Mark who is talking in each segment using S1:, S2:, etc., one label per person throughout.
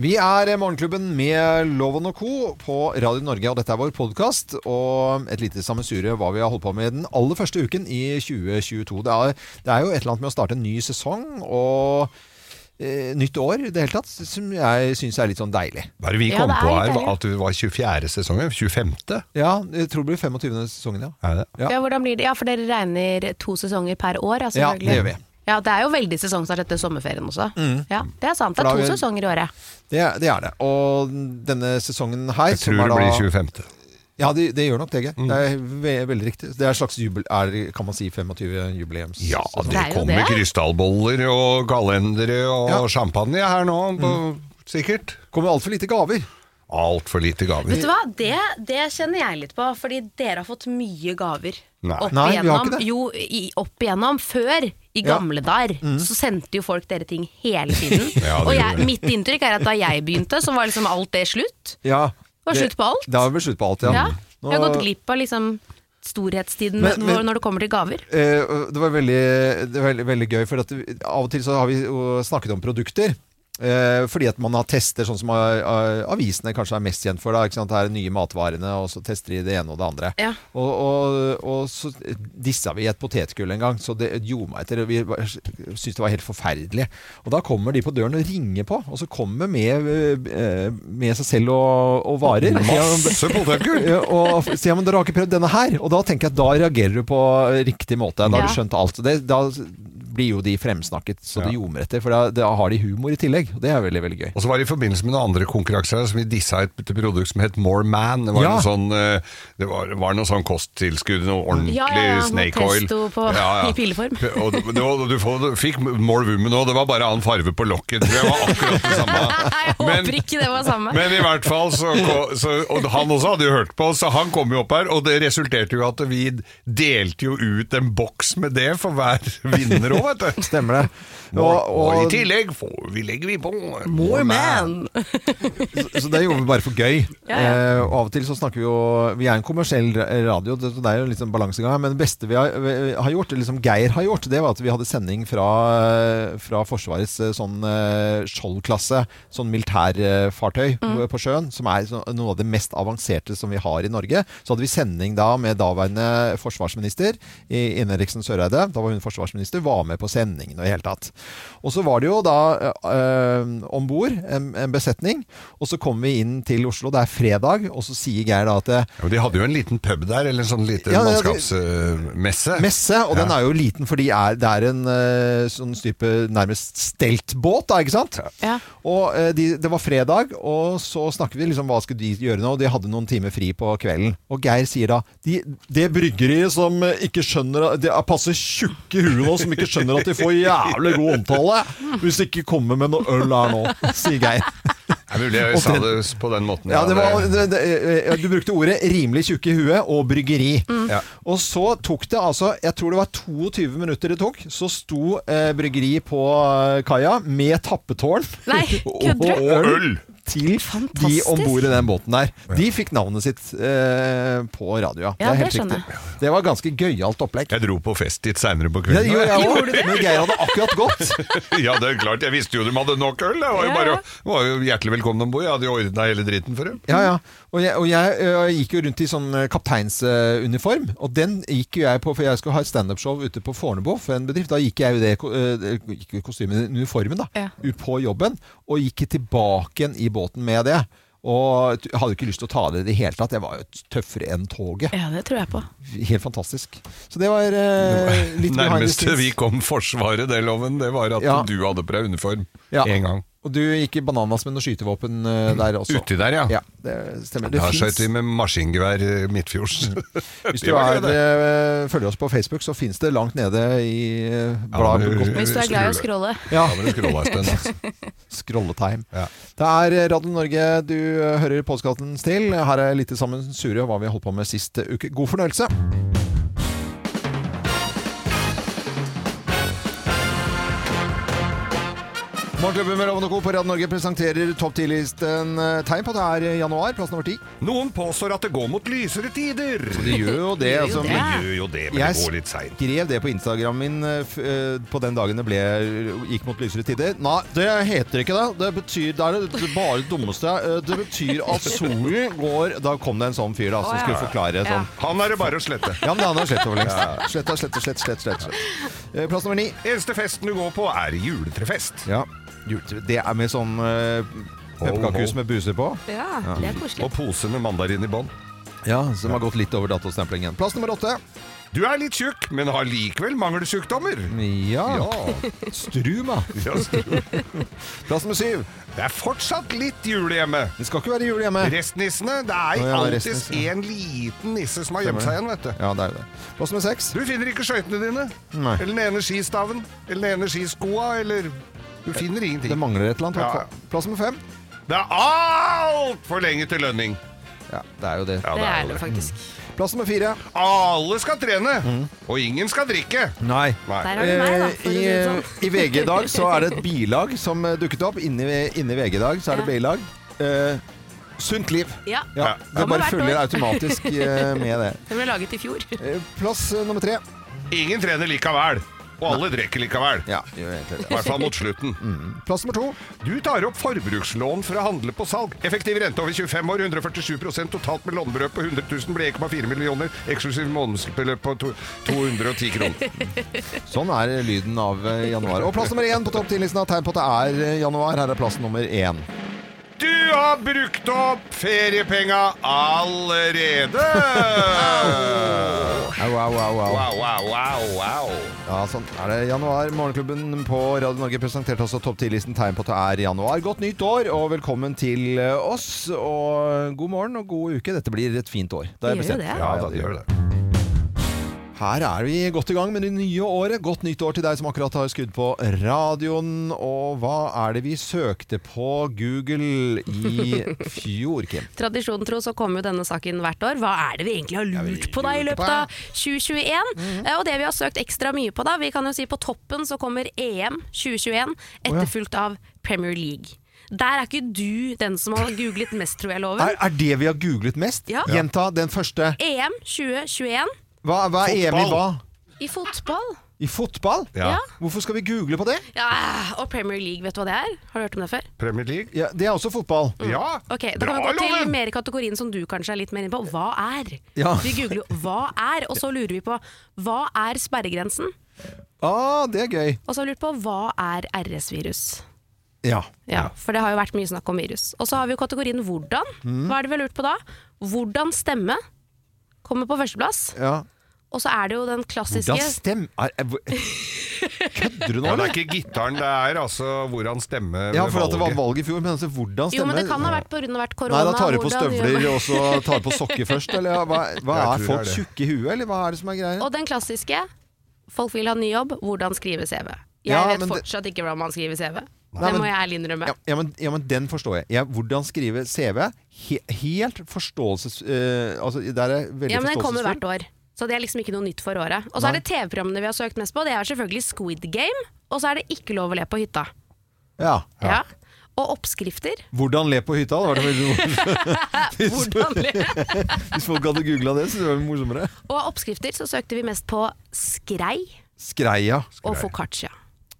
S1: Vi er Morgenklubben med Loven og co. på Radio Norge, og dette er vår podkast. Og et lite sammensurium hva vi har holdt på med den aller første uken i 2022. Det er, det er jo et eller annet med å starte en ny sesong og eh, nytt år i det hele tatt, som jeg syns er litt sånn deilig.
S2: Hva er det vi
S3: Ja,
S2: kom
S3: det er
S2: på
S3: litt
S2: her?
S3: deilig.
S2: At det var 24. sesongen? 25.
S1: Ja, jeg tror det blir 25. sesongen, ja.
S2: Er det?
S1: Ja.
S3: Ja. hvordan blir det? ja, for dere regner to sesonger per år? Ja,
S1: Ja,
S3: selvfølgelig.
S1: det gjør vi. Mm.
S3: Ja, det er jo veldig sesongstart etter sommerferien også. Ja, Det er sant. Det
S1: For
S3: er
S1: da
S3: to
S1: har vi-
S3: sesonger i året.
S1: Det, det er det. Og denne sesongen her
S2: Jeg tror det blir 25.
S1: Ja, det, det gjør nok det, Geir. Det er ve veldig riktig. Det er et slags jubel... Er, det- kan man si 25 jubileums... sånn.
S2: Ja,
S1: sesong?
S3: Det
S2: det
S3: er jo
S2: kommer
S3: det.
S2: krystallboller og kalendere og
S1: Ja.
S2: champagne her nå,
S3: Mm.
S2: på, sikkert.
S1: Kommer altfor lite gaver.
S2: Altfor lite
S3: Vet
S2: gaver.
S3: du hva, det, det kjenner jeg litt på, fordi dere har fått mye gaver.
S2: Nei.
S3: Opp
S1: Nei, vi har
S3: igjennom,
S1: ikke det.
S3: Jo, i, opp igjennom. Før, i
S1: Ja. Mm.
S3: gamle dager, så sendte jo folk dere ting hele tiden.
S2: Ja,
S3: og
S2: det gjorde det.
S3: jeg, mitt inntrykk er at da jeg begynte, så var liksom alt det slutt.
S1: Ja.
S3: Det var slutt på alt.
S1: Det har vel slutt på alt, ja.
S3: Ja.
S1: Nå-
S3: Jeg har gått glipp av liksom storhetstiden
S1: Men- men-
S3: hvor- når det kommer til gaver.
S1: Eh, det var veldig, det var veldig, veldig gøy, for at vi- av og til så har vi jo snakket om produkter. Eh, fordi at man har tester, sånn som eh, eh, avisene kanskje er mest kjent for. Da, ikke sant? Her er nye matvarene, og så tester de det ene og det andre.
S3: Ja.
S1: Og, og, og så dissa vi i et potetgull en gang, så det gjorde meg etter. Vi var- syntes det var helt forferdelig. Og da kommer de på døren og ringer på, og så kommer med, eh, med seg selv og, og varer.
S2: Masse potetgull!
S1: Ja, og f- sier ja, men dere har ikke prøvd denne her. Og da tenker jeg at da reagerer du på riktig måte. Da har
S3: Ja.
S1: du skjønt alt. Og Det, da blir jo de fremsnakket så det
S2: Ja.
S1: ljomer etter. For da, da har de humor i tillegg. Og det er veldig, veldig gøy.
S2: Og så var det i forbindelse med noen andre konkurranser som vi dissa et et produkt som het More Man. Det var
S1: Ja.
S2: noe sånn, eh, det var, var noe sånn kosttilskudd, noe ordentlig
S3: Ja, ja, ja, noe
S2: snake oil.
S3: pesto på- i pilleform.
S2: og du, det var- du, får- du fikk More Woman òg, det var bare annen farge på lokket. Det var akkurat det samme.
S3: Jeg
S2: Men-
S3: håper ikke det var samme.
S2: Men i hvert fall, så, ko- så, og han også hadde jo hørt på oss, så han kom jo opp her, og det resulterte jo at vi delte jo ut en boks med det for hver vinner òg, vet du.
S1: Stemmer det.
S2: Og, og i tillegg får vi, legger vi på
S3: More man!
S1: så, så det gjorde vi bare for gøy.
S3: Ja, ja.
S1: Eh, og av og til så snakker vi jo Vi er en kommersiell ra- radio, det, så det er jo litt sånn balansegang her. Men det beste vi har, vi har gjort, eller som Geir har gjort, det var at vi hadde sending fra, fra Forsvarets eh, sånn eh, Skjold-klasse, sånn militærfartøy
S3: Mm.
S1: på sjøen, som er sånn, noe av det mest avanserte som vi har i Norge. Så hadde vi sending da med daværende forsvarsminister i- Inneriksen Søreide, da var hun forsvarsminister, var med på sendingen og i hele tatt. Og så var det jo da øh, om bord, en, en besetning, og så kom vi inn til Oslo, det er fredag, og så sier Geir da at eh,
S2: Ja, men de hadde jo en liten pub der, eller en sånn liten
S1: Ja, det-
S2: mannskapsmesse.
S1: Messe, og
S2: Ja.
S1: den er jo liten fordi er, det er en eh, sånn type nærmest steltbåt, da, ikke sant?
S3: Ja.
S1: Og eh, de, det var fredag, og så snakket vi liksom hva skulle de gjøre nå, og de hadde noen timer fri på kvelden. Og Geir sier da de, Det bryggeriet som eh, ikke skjønner at- Det er passe tjukke i huet nå, som ikke skjønner at de får jævlig god omtale hvis de ikke kommer med noe øl her nå, sier Geir.
S2: Det er mulig jeg sa det på den måten.
S1: Ja, det var,
S2: det-
S1: det, det, eh, du brukte ordet 'rimelig tjukke i huet' og 'bryggeri'.
S2: Mm. Ja.
S1: Og så tok det altså Jeg tror det var 22 minutter det tok. Så sto eh, bryggeri på eh, kaia med tappetårn
S3: Nei, kødder du?
S2: Og øl!
S1: til de
S3: Fantastisk.
S1: om bord i den båten der. De fikk navnet sitt eh, på radioa.
S3: Ja,
S1: er
S3: det
S1: helt
S3: skjønner
S1: riktig. Det var ganske gøyalt opplegg.
S2: Jeg dro på fest dit seinere på
S1: Det
S2: kvelden.
S1: gjorde jeg òg, men Geir hadde akkurat gått.
S2: Ja, det er klart. Jeg visste jo de hadde nok øl. Jeg var jo,
S3: Ja,
S2: bare,
S3: ja.
S2: var jo hjertelig velkommen om bord. Jeg hadde jo ordna hele dritten for dem.
S1: Ja, ja. Og jeg, og jeg ø, gikk jo rundt i sånn ø, kapteinsuniform, og den gikk jo jeg på, for jeg skulle ha et standup-show ute på Fornebu for en bedrift. Da gikk jeg jo det ko- ø, det- gikk jo i kostymet, uniformen, da,
S3: Ja.
S1: ut på jobben, og gikk tilbake igjen i båten med det. Og t- hadde jo ikke lyst til å ta det i det hele tatt. Jeg var jo tøffere enn toget.
S3: Ja, det tror jeg på.
S1: Helt fantastisk. Så det var ø, Eh, litt behind the
S2: Nærmeste
S1: scenes.
S2: vi kom Forsvaret, det loven, det var at
S1: Ja.
S2: du hadde på deg uniform
S1: Ja.
S2: én gang.
S1: Og du gikk i bananas med noe skytevåpen ø, der også.
S2: Uti der, ja.
S1: Ja, det stemmer. Det
S2: Da
S1: finnes-
S2: skjøt vi med maskingevær eh, midtfjords.
S1: Hvis
S2: Det
S1: du
S2: var
S1: er,
S2: gøy, det.
S1: eh, følger oss på Facebook, så fins det langt nede i eh, blad.
S2: men-
S1: godt-
S3: Hvis du er glad i å skrolle.
S1: Ja,
S2: Da var det scrolla en stund, altså.
S1: scrolletime.
S2: Ja.
S1: Det er eh, Radio Norge du eh, hører postkatten til. Her er litt sammen sure hva vi holdt på med sist eh, uke. God fornøyelse! Morgenklubben med Lovende Co. på Radio Norge presenterer topp 10-listen. Eh, Tegn på at det er januar, plass nummer ti.
S2: Noen påstår at det går mot lysere tider.
S1: Det gjør jo det. Altså,
S2: Det gjør jo det, men det går litt seint.
S1: skrev det på Instagram min eh, f eh, på den dagen det ble, gikk mot lysere tider. Nei, det heter ikke det. Det betyr, det er det bare det dummeste. Eh, Det betyr at solen går Da kom det en sånn fyr da, som
S4: Å, ja.
S1: skulle forklare
S4: Ja.
S1: sånn.
S2: Han er det bare å slette.
S1: Ja, men det han har slett over lengst. Sletta, sletta, slett, slett, slett. slett. Eh, Plass nummer ni.
S2: Eneste festen du går på, er juletrefest.
S1: Ja. Jule- Det er med sånn eh, pepperkakehus med buser på.
S4: Ja, det er koselig.
S2: Og pose med mandarin i bånn.
S1: Ja, Som har gått litt over datostemplingen. Plass nummer åtte.
S2: Du er litt tjukk, men har likevel mangelsykdommer.
S1: Ja.
S2: Ja.
S1: Struma.
S2: Ja, stor.
S1: Plass nummer syv.
S2: Det er fortsatt litt jul hjemme.
S1: Det skal ikke være jul hjemme.
S2: Restnissene, det
S1: Å,
S2: er
S1: ja,
S2: alltid
S1: restnissene.
S2: en liten nisse som har gjemt seg igjen, vet du.
S1: Ja, det er jo det. Plass nummer seks.
S2: Du finner ikke skøytene dine.
S1: Nei.
S2: Eller den ene skistaven. Eller den ene skiskoa. Eller Du finner
S1: Det
S2: ingenting.
S1: mangler et eller annet. i hvert
S2: Ja.
S1: fall. Plass nummer fem.
S2: Det er altfor lenge til lønning.
S1: Ja, det er jo det.
S2: Ja,
S4: Det er
S2: jo
S4: det faktisk.
S2: Mm.
S1: Plass nummer fire.
S2: Alle skal trene,
S1: Mm.
S2: og ingen skal drikke.
S1: Nei.
S2: Nei.
S4: Der har du meg, da.
S1: Eh,
S4: For å si
S1: I,
S4: det sånn.
S1: I VG i dag så er det et bilag som eh, dukket opp. Inni, inni VG i dag så er det
S4: Ja.
S1: bilag. Eh, sunt liv.
S4: Ja.
S1: Ja,
S4: Ja.
S1: det bare
S4: Kommer hvert
S1: følger
S4: år.
S1: automatisk eh, med det.
S4: Den ble laget i fjor.
S1: Eh, Plass eh, nummer tre.
S2: Ingen trener likevel. Og alle drikker likevel.
S1: Ja, det gjør egentlig
S2: I
S1: det.
S2: hvert fall mot slutten.
S1: Plass nummer to.
S2: Du tar opp forbrukslån for å handle på salg. Effektiv rente over 25 år, 147 totalt med lånebeløp på 100 000 blir 1,4 millioner, eksklusiv månedsbeløp på to- 210 kroner.
S1: Sånn er eh, lyden av eh, januar. Og plass nummer én på topp 10-listen av tegn på at det er eh, januar. Her er plass nummer én.
S2: Du har brukt opp feriepenga allerede!
S1: Au, au, au, au.
S2: Wow, wow, wow, wow.
S1: Ja, sånn er det januar. Morgenklubben på Radio Norge presenterte også topp 10-listen tegn på at det er januar. Godt nytt år, og velkommen til eh, oss. Og god morgen og god uke. Dette blir et fint år. Det har jeg
S4: Det gjør
S1: bestemt.
S4: det.
S2: Ja, da, det gjør det.
S1: Her er vi godt i gang med det nye året. Godt nytt år til deg som akkurat har skrudd på radioen. Og hva er det vi søkte på Google i fjor, Kim?
S4: Tradisjonen tro så kommer jo denne saken hvert år. Hva er det vi egentlig har lurt på da i
S1: lurte på,
S4: løpet
S1: ja.
S4: av 2021?
S2: Mhm.
S4: Eh, Og det vi har søkt ekstra mye på da, vi kan jo si på toppen så kommer EM 2021 etterfulgt av Premier League. Der er ikke du den som har googlet mest, tror
S1: Er,
S4: jeg, Loven.
S1: er det vi har googlet mest?
S4: Ja.
S1: Gjenta den første.
S4: EM 2021
S1: Hva, hva er EM i
S2: Fotball.
S1: hva?
S4: i fotball.
S1: I fotball?
S2: Ja.
S4: Ja.
S1: Hvorfor skal vi google på det?
S4: ja. Og Premier League, vet du hva det er? Har du hørt om det før?
S2: Premier League?
S1: Ja, det er også fotball.
S2: Ja.
S4: Ok, Da
S2: Bra,
S4: kan vi gå til
S2: Loven!
S4: mer i kategorien som du kanskje er litt mer inne på. Hva er?
S1: Ja.
S4: Vi googler jo 'hva er', og så lurer vi på 'hva er sperregrensen'?
S1: Ah, det er gøy.
S4: Og så har vi lurt på hva er RS-virus?
S1: Ja.
S4: Ja, For det har jo vært mye snakk om virus. Og så har vi jo kategorien hvordan.
S1: Mm.
S4: Hva er det vi har lurt på da? Hvordan stemme kommer på førsteplass.
S1: ja.
S4: Og så er det jo den klassiske
S1: Hvordan stem... Er, er, hvor- kødder du nå,
S2: Ja, det
S1: eller?
S2: er ikke gitaren, det er altså hvordan stemme
S1: Ja,
S2: ved
S1: for at det var
S2: valget.
S1: valg i fjor, men altså, hvordan stemmer
S4: Jo, men det kan ha vært pga. korona.
S1: Nei, da tar du på
S4: hvordan gjør man-
S1: støvler og så tar du på sokker først, eller ja, hva, hva
S2: Jeg
S1: er
S2: tror
S1: folk
S2: det er det.
S1: tjukke i huet, eller hva er det som er greia?
S4: Og den klassiske folk vil ha ny jobb, hvordan skrive CV? Jeg
S1: Ja,
S4: vet
S1: men det-
S4: fortsatt ikke hvordan man skriver CV.
S1: Nei,
S4: det
S1: men-
S4: må jeg ærlig innrømme.
S1: Ja, ja, men, ja, men den forstår jeg. jeg hvordan skrive CV? He, helt forståelses... eh, altså, der er jeg veldig
S4: Ja, men den kommer
S1: forståelsesfull.
S4: hvert år. Så det er liksom ikke noe nytt for året. Og så
S1: Nei.
S4: er det TV-programmene vi har søkt mest på. Det er selvfølgelig Squid Game, og så er det Ikke lov å le på hytta.
S1: Ja.
S4: Ja. Og oppskrifter.
S1: Hvordan le på hytta? Det var det veldig,
S4: Hvordan le?
S1: hvis folk hadde googla det, så det var det morsommere.
S4: Og av oppskrifter så søkte vi mest på skrei
S1: Skreia.
S4: og foccaccia.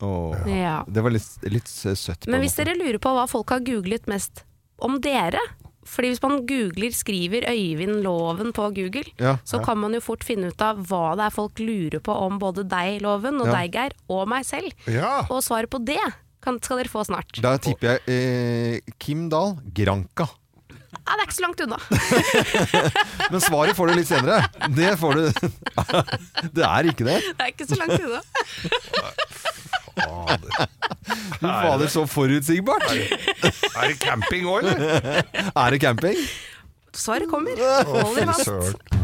S1: Åh.
S4: Ja.
S1: Det var litt, litt søtt. på en
S4: Men hvis
S1: måte.
S4: dere lurer på hva folk har googlet mest om dere fordi hvis man googler, skriver Øyvind Loven på Google,
S1: Ja,
S4: så
S1: ja.
S4: kan man jo fort finne ut av hva det er folk lurer på om både deg, Loven, og
S1: Ja.
S4: deg, Geir, og meg selv.
S2: Ja.
S4: Og svaret på det kan, skal dere få snart.
S1: Da tipper jeg eh, Kim Dahl, Granka.
S4: Ja, det er ikke så langt unna.
S1: Men svaret får du litt senere. Det får du Det er ikke det.
S4: Det er ikke så langt unna.
S1: Du fader, så forutsigbart.
S2: Er det camping òg, eller?
S1: Er det camping?
S4: Svaret kommer. Hold dere fast.
S2: Søren.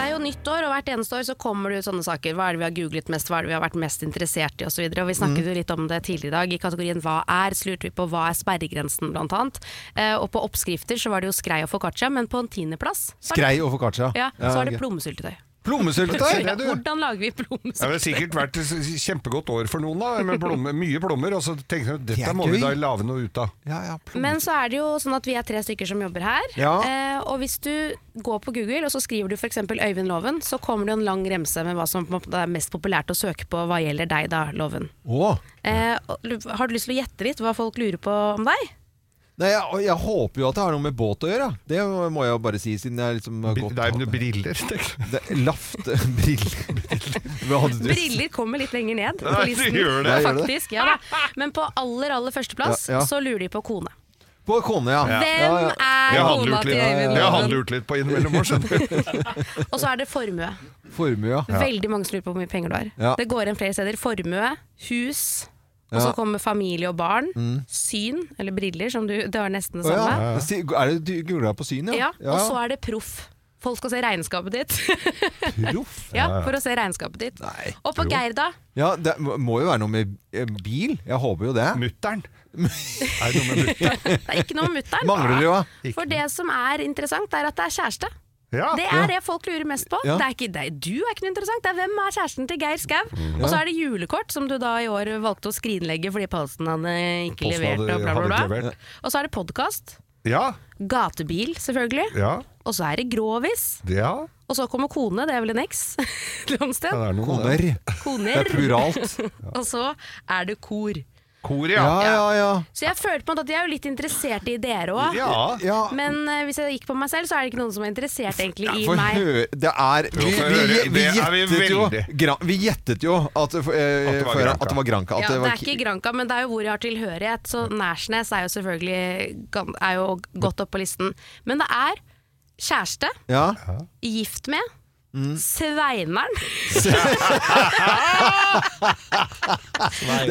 S4: Det er jo nytt år, og hvert eneste år så kommer det ut sånne saker. Hva er det vi har googlet mest, hva er det vi har vært mest interessert i osv. Vi snakket jo litt om det tidligere i dag. I kategorien hva er, så lurte vi på hva er sperregrensen, blant annet. Eh, og på oppskrifter så var det jo skrei og foccaccia, men på en tiendeplass så er det-
S1: Skrei og foccaccia.
S4: ja, så er det
S1: ok.
S4: plommesyltetøy.
S1: Plommesyltetøy!
S2: det, du.
S4: Hvordan lager vi
S2: Det har
S4: plommesyltetøy?
S2: sikkert vært et s- kjempegodt år for noen, da, med plomme, mye plommer. Og så tenkte jeg
S1: Det er
S2: dette må vi
S1: gøy.
S2: da lage noe ut av.
S1: Ja, ja, plomme-
S4: Men så er det jo sånn at vi er tre stykker som jobber her.
S1: Ja.
S4: Eh, og hvis du går på Google og så skriver du f.eks. Øyvind Loven, så kommer det en lang remse med hva som på en måte er mest populært å søke på hva gjelder deg, da, Loven.
S1: Å.
S4: Eh, og- har du lyst til å gjette litt hva folk lurer på om deg?
S1: Nei, jeg, og jeg håper jo at det har noe med båt å gjøre. Det må jeg jo bare si, siden jeg liksom har
S2: Bri-
S1: gått
S2: Det er jo noen briller. tenker jeg.
S1: Det- Laft Briller. Hva hadde du?
S4: Briller kommer litt lenger ned på
S2: Nei, de
S4: listen.
S2: gjør det.
S1: Nei, gjør det?
S4: Faktisk, ja da. Men på aller, aller førsteplass
S1: Ja, ja.
S4: så lurer de på kone.
S1: På kone, ja.
S4: Hvem
S1: Ja, ja.
S4: er
S2: Jeg har
S4: kona
S2: lurt
S4: til
S2: litt,
S4: Øyvind
S2: jeg har
S4: Loven?
S2: lurt litt på innimellom år, skjønner du.
S4: Og så er det formue.
S1: Formue, ja.
S4: Veldig mange som lurer på hvor mye penger du har.
S1: Ja.
S4: Det går igjen flere steder. Formue, hus, og
S1: Ja. Mm.
S4: så kommer familie og barn. Syn, eller briller, som du Det var nesten
S1: Å,
S4: det samme.
S1: ja. Si- Er det du googlet på syn,
S4: Ja.
S1: ja?
S4: Og så er det proff. Folk skal se regnskapet ditt.
S1: Proff?
S4: ja, For å se regnskapet ditt.
S1: Nei.
S4: Og på Geir, da?
S1: Ja, det må- må jo være noe med eh, bil. Jeg håper jo det.
S2: Mutter'n. Er det noe med mutter?
S4: Det er ikke noe med mutter'n.
S1: Mangler det jo, ja.
S4: For det som er interessant, er at det er kjæreste.
S2: Ja.
S4: Det er det folk lurer mest på.
S1: Ja.
S4: Det er ikke, det, er- du er ikke noe interessant, det er hvem er kjæresten til Geir Skau?
S2: Mm.
S4: Og så er det julekort, som du da i år valgte å skrinlegge fordi posten hadde ikke
S2: Posten
S4: levert.
S2: hadde-
S4: Og, bla, bla,
S2: hadde
S4: bla.
S2: ikke levert.
S4: og så er det podkast.
S2: Ja.
S4: Gatebil, selvfølgelig.
S2: Ja.
S4: Og så er det grovis.
S2: Ja.
S4: Og så kommer kone, det er vel en eks? Et eller annet
S2: ja,
S4: sted.
S2: det er noe med det.
S1: Koner. Det er
S4: Koner.
S1: pluralt.
S4: Og så er det kor.
S2: Kor, ja.
S1: Ja, ja, ja.
S4: Så jeg følte på en måte at jeg er jo litt interessert i dere òg.
S2: Ja.
S1: ja.
S4: Men eh, hvis jeg gikk på meg selv, så er det ikke noen som er interessert egentlig i
S1: Få
S4: meg.
S1: høre Det er Vi, vi,
S2: få høre.
S1: vi, vi
S2: Det er vi
S1: gjettet jo
S2: veldig.
S1: Gran- Vi gjettet jo at, eh,
S2: det var
S1: før,
S2: Granca.
S1: at det var Granca. At
S4: ja,
S1: det var,
S4: er
S1: ki-
S4: ikke Granca, men det er jo hvor jeg har tilhørighet. Så Nærsnes er jo selvfølgelig gan- er jo godt opp på listen. Men det er kjæreste,
S1: ja.
S4: gift med,
S1: Mm.
S4: Sveineren.
S1: Det er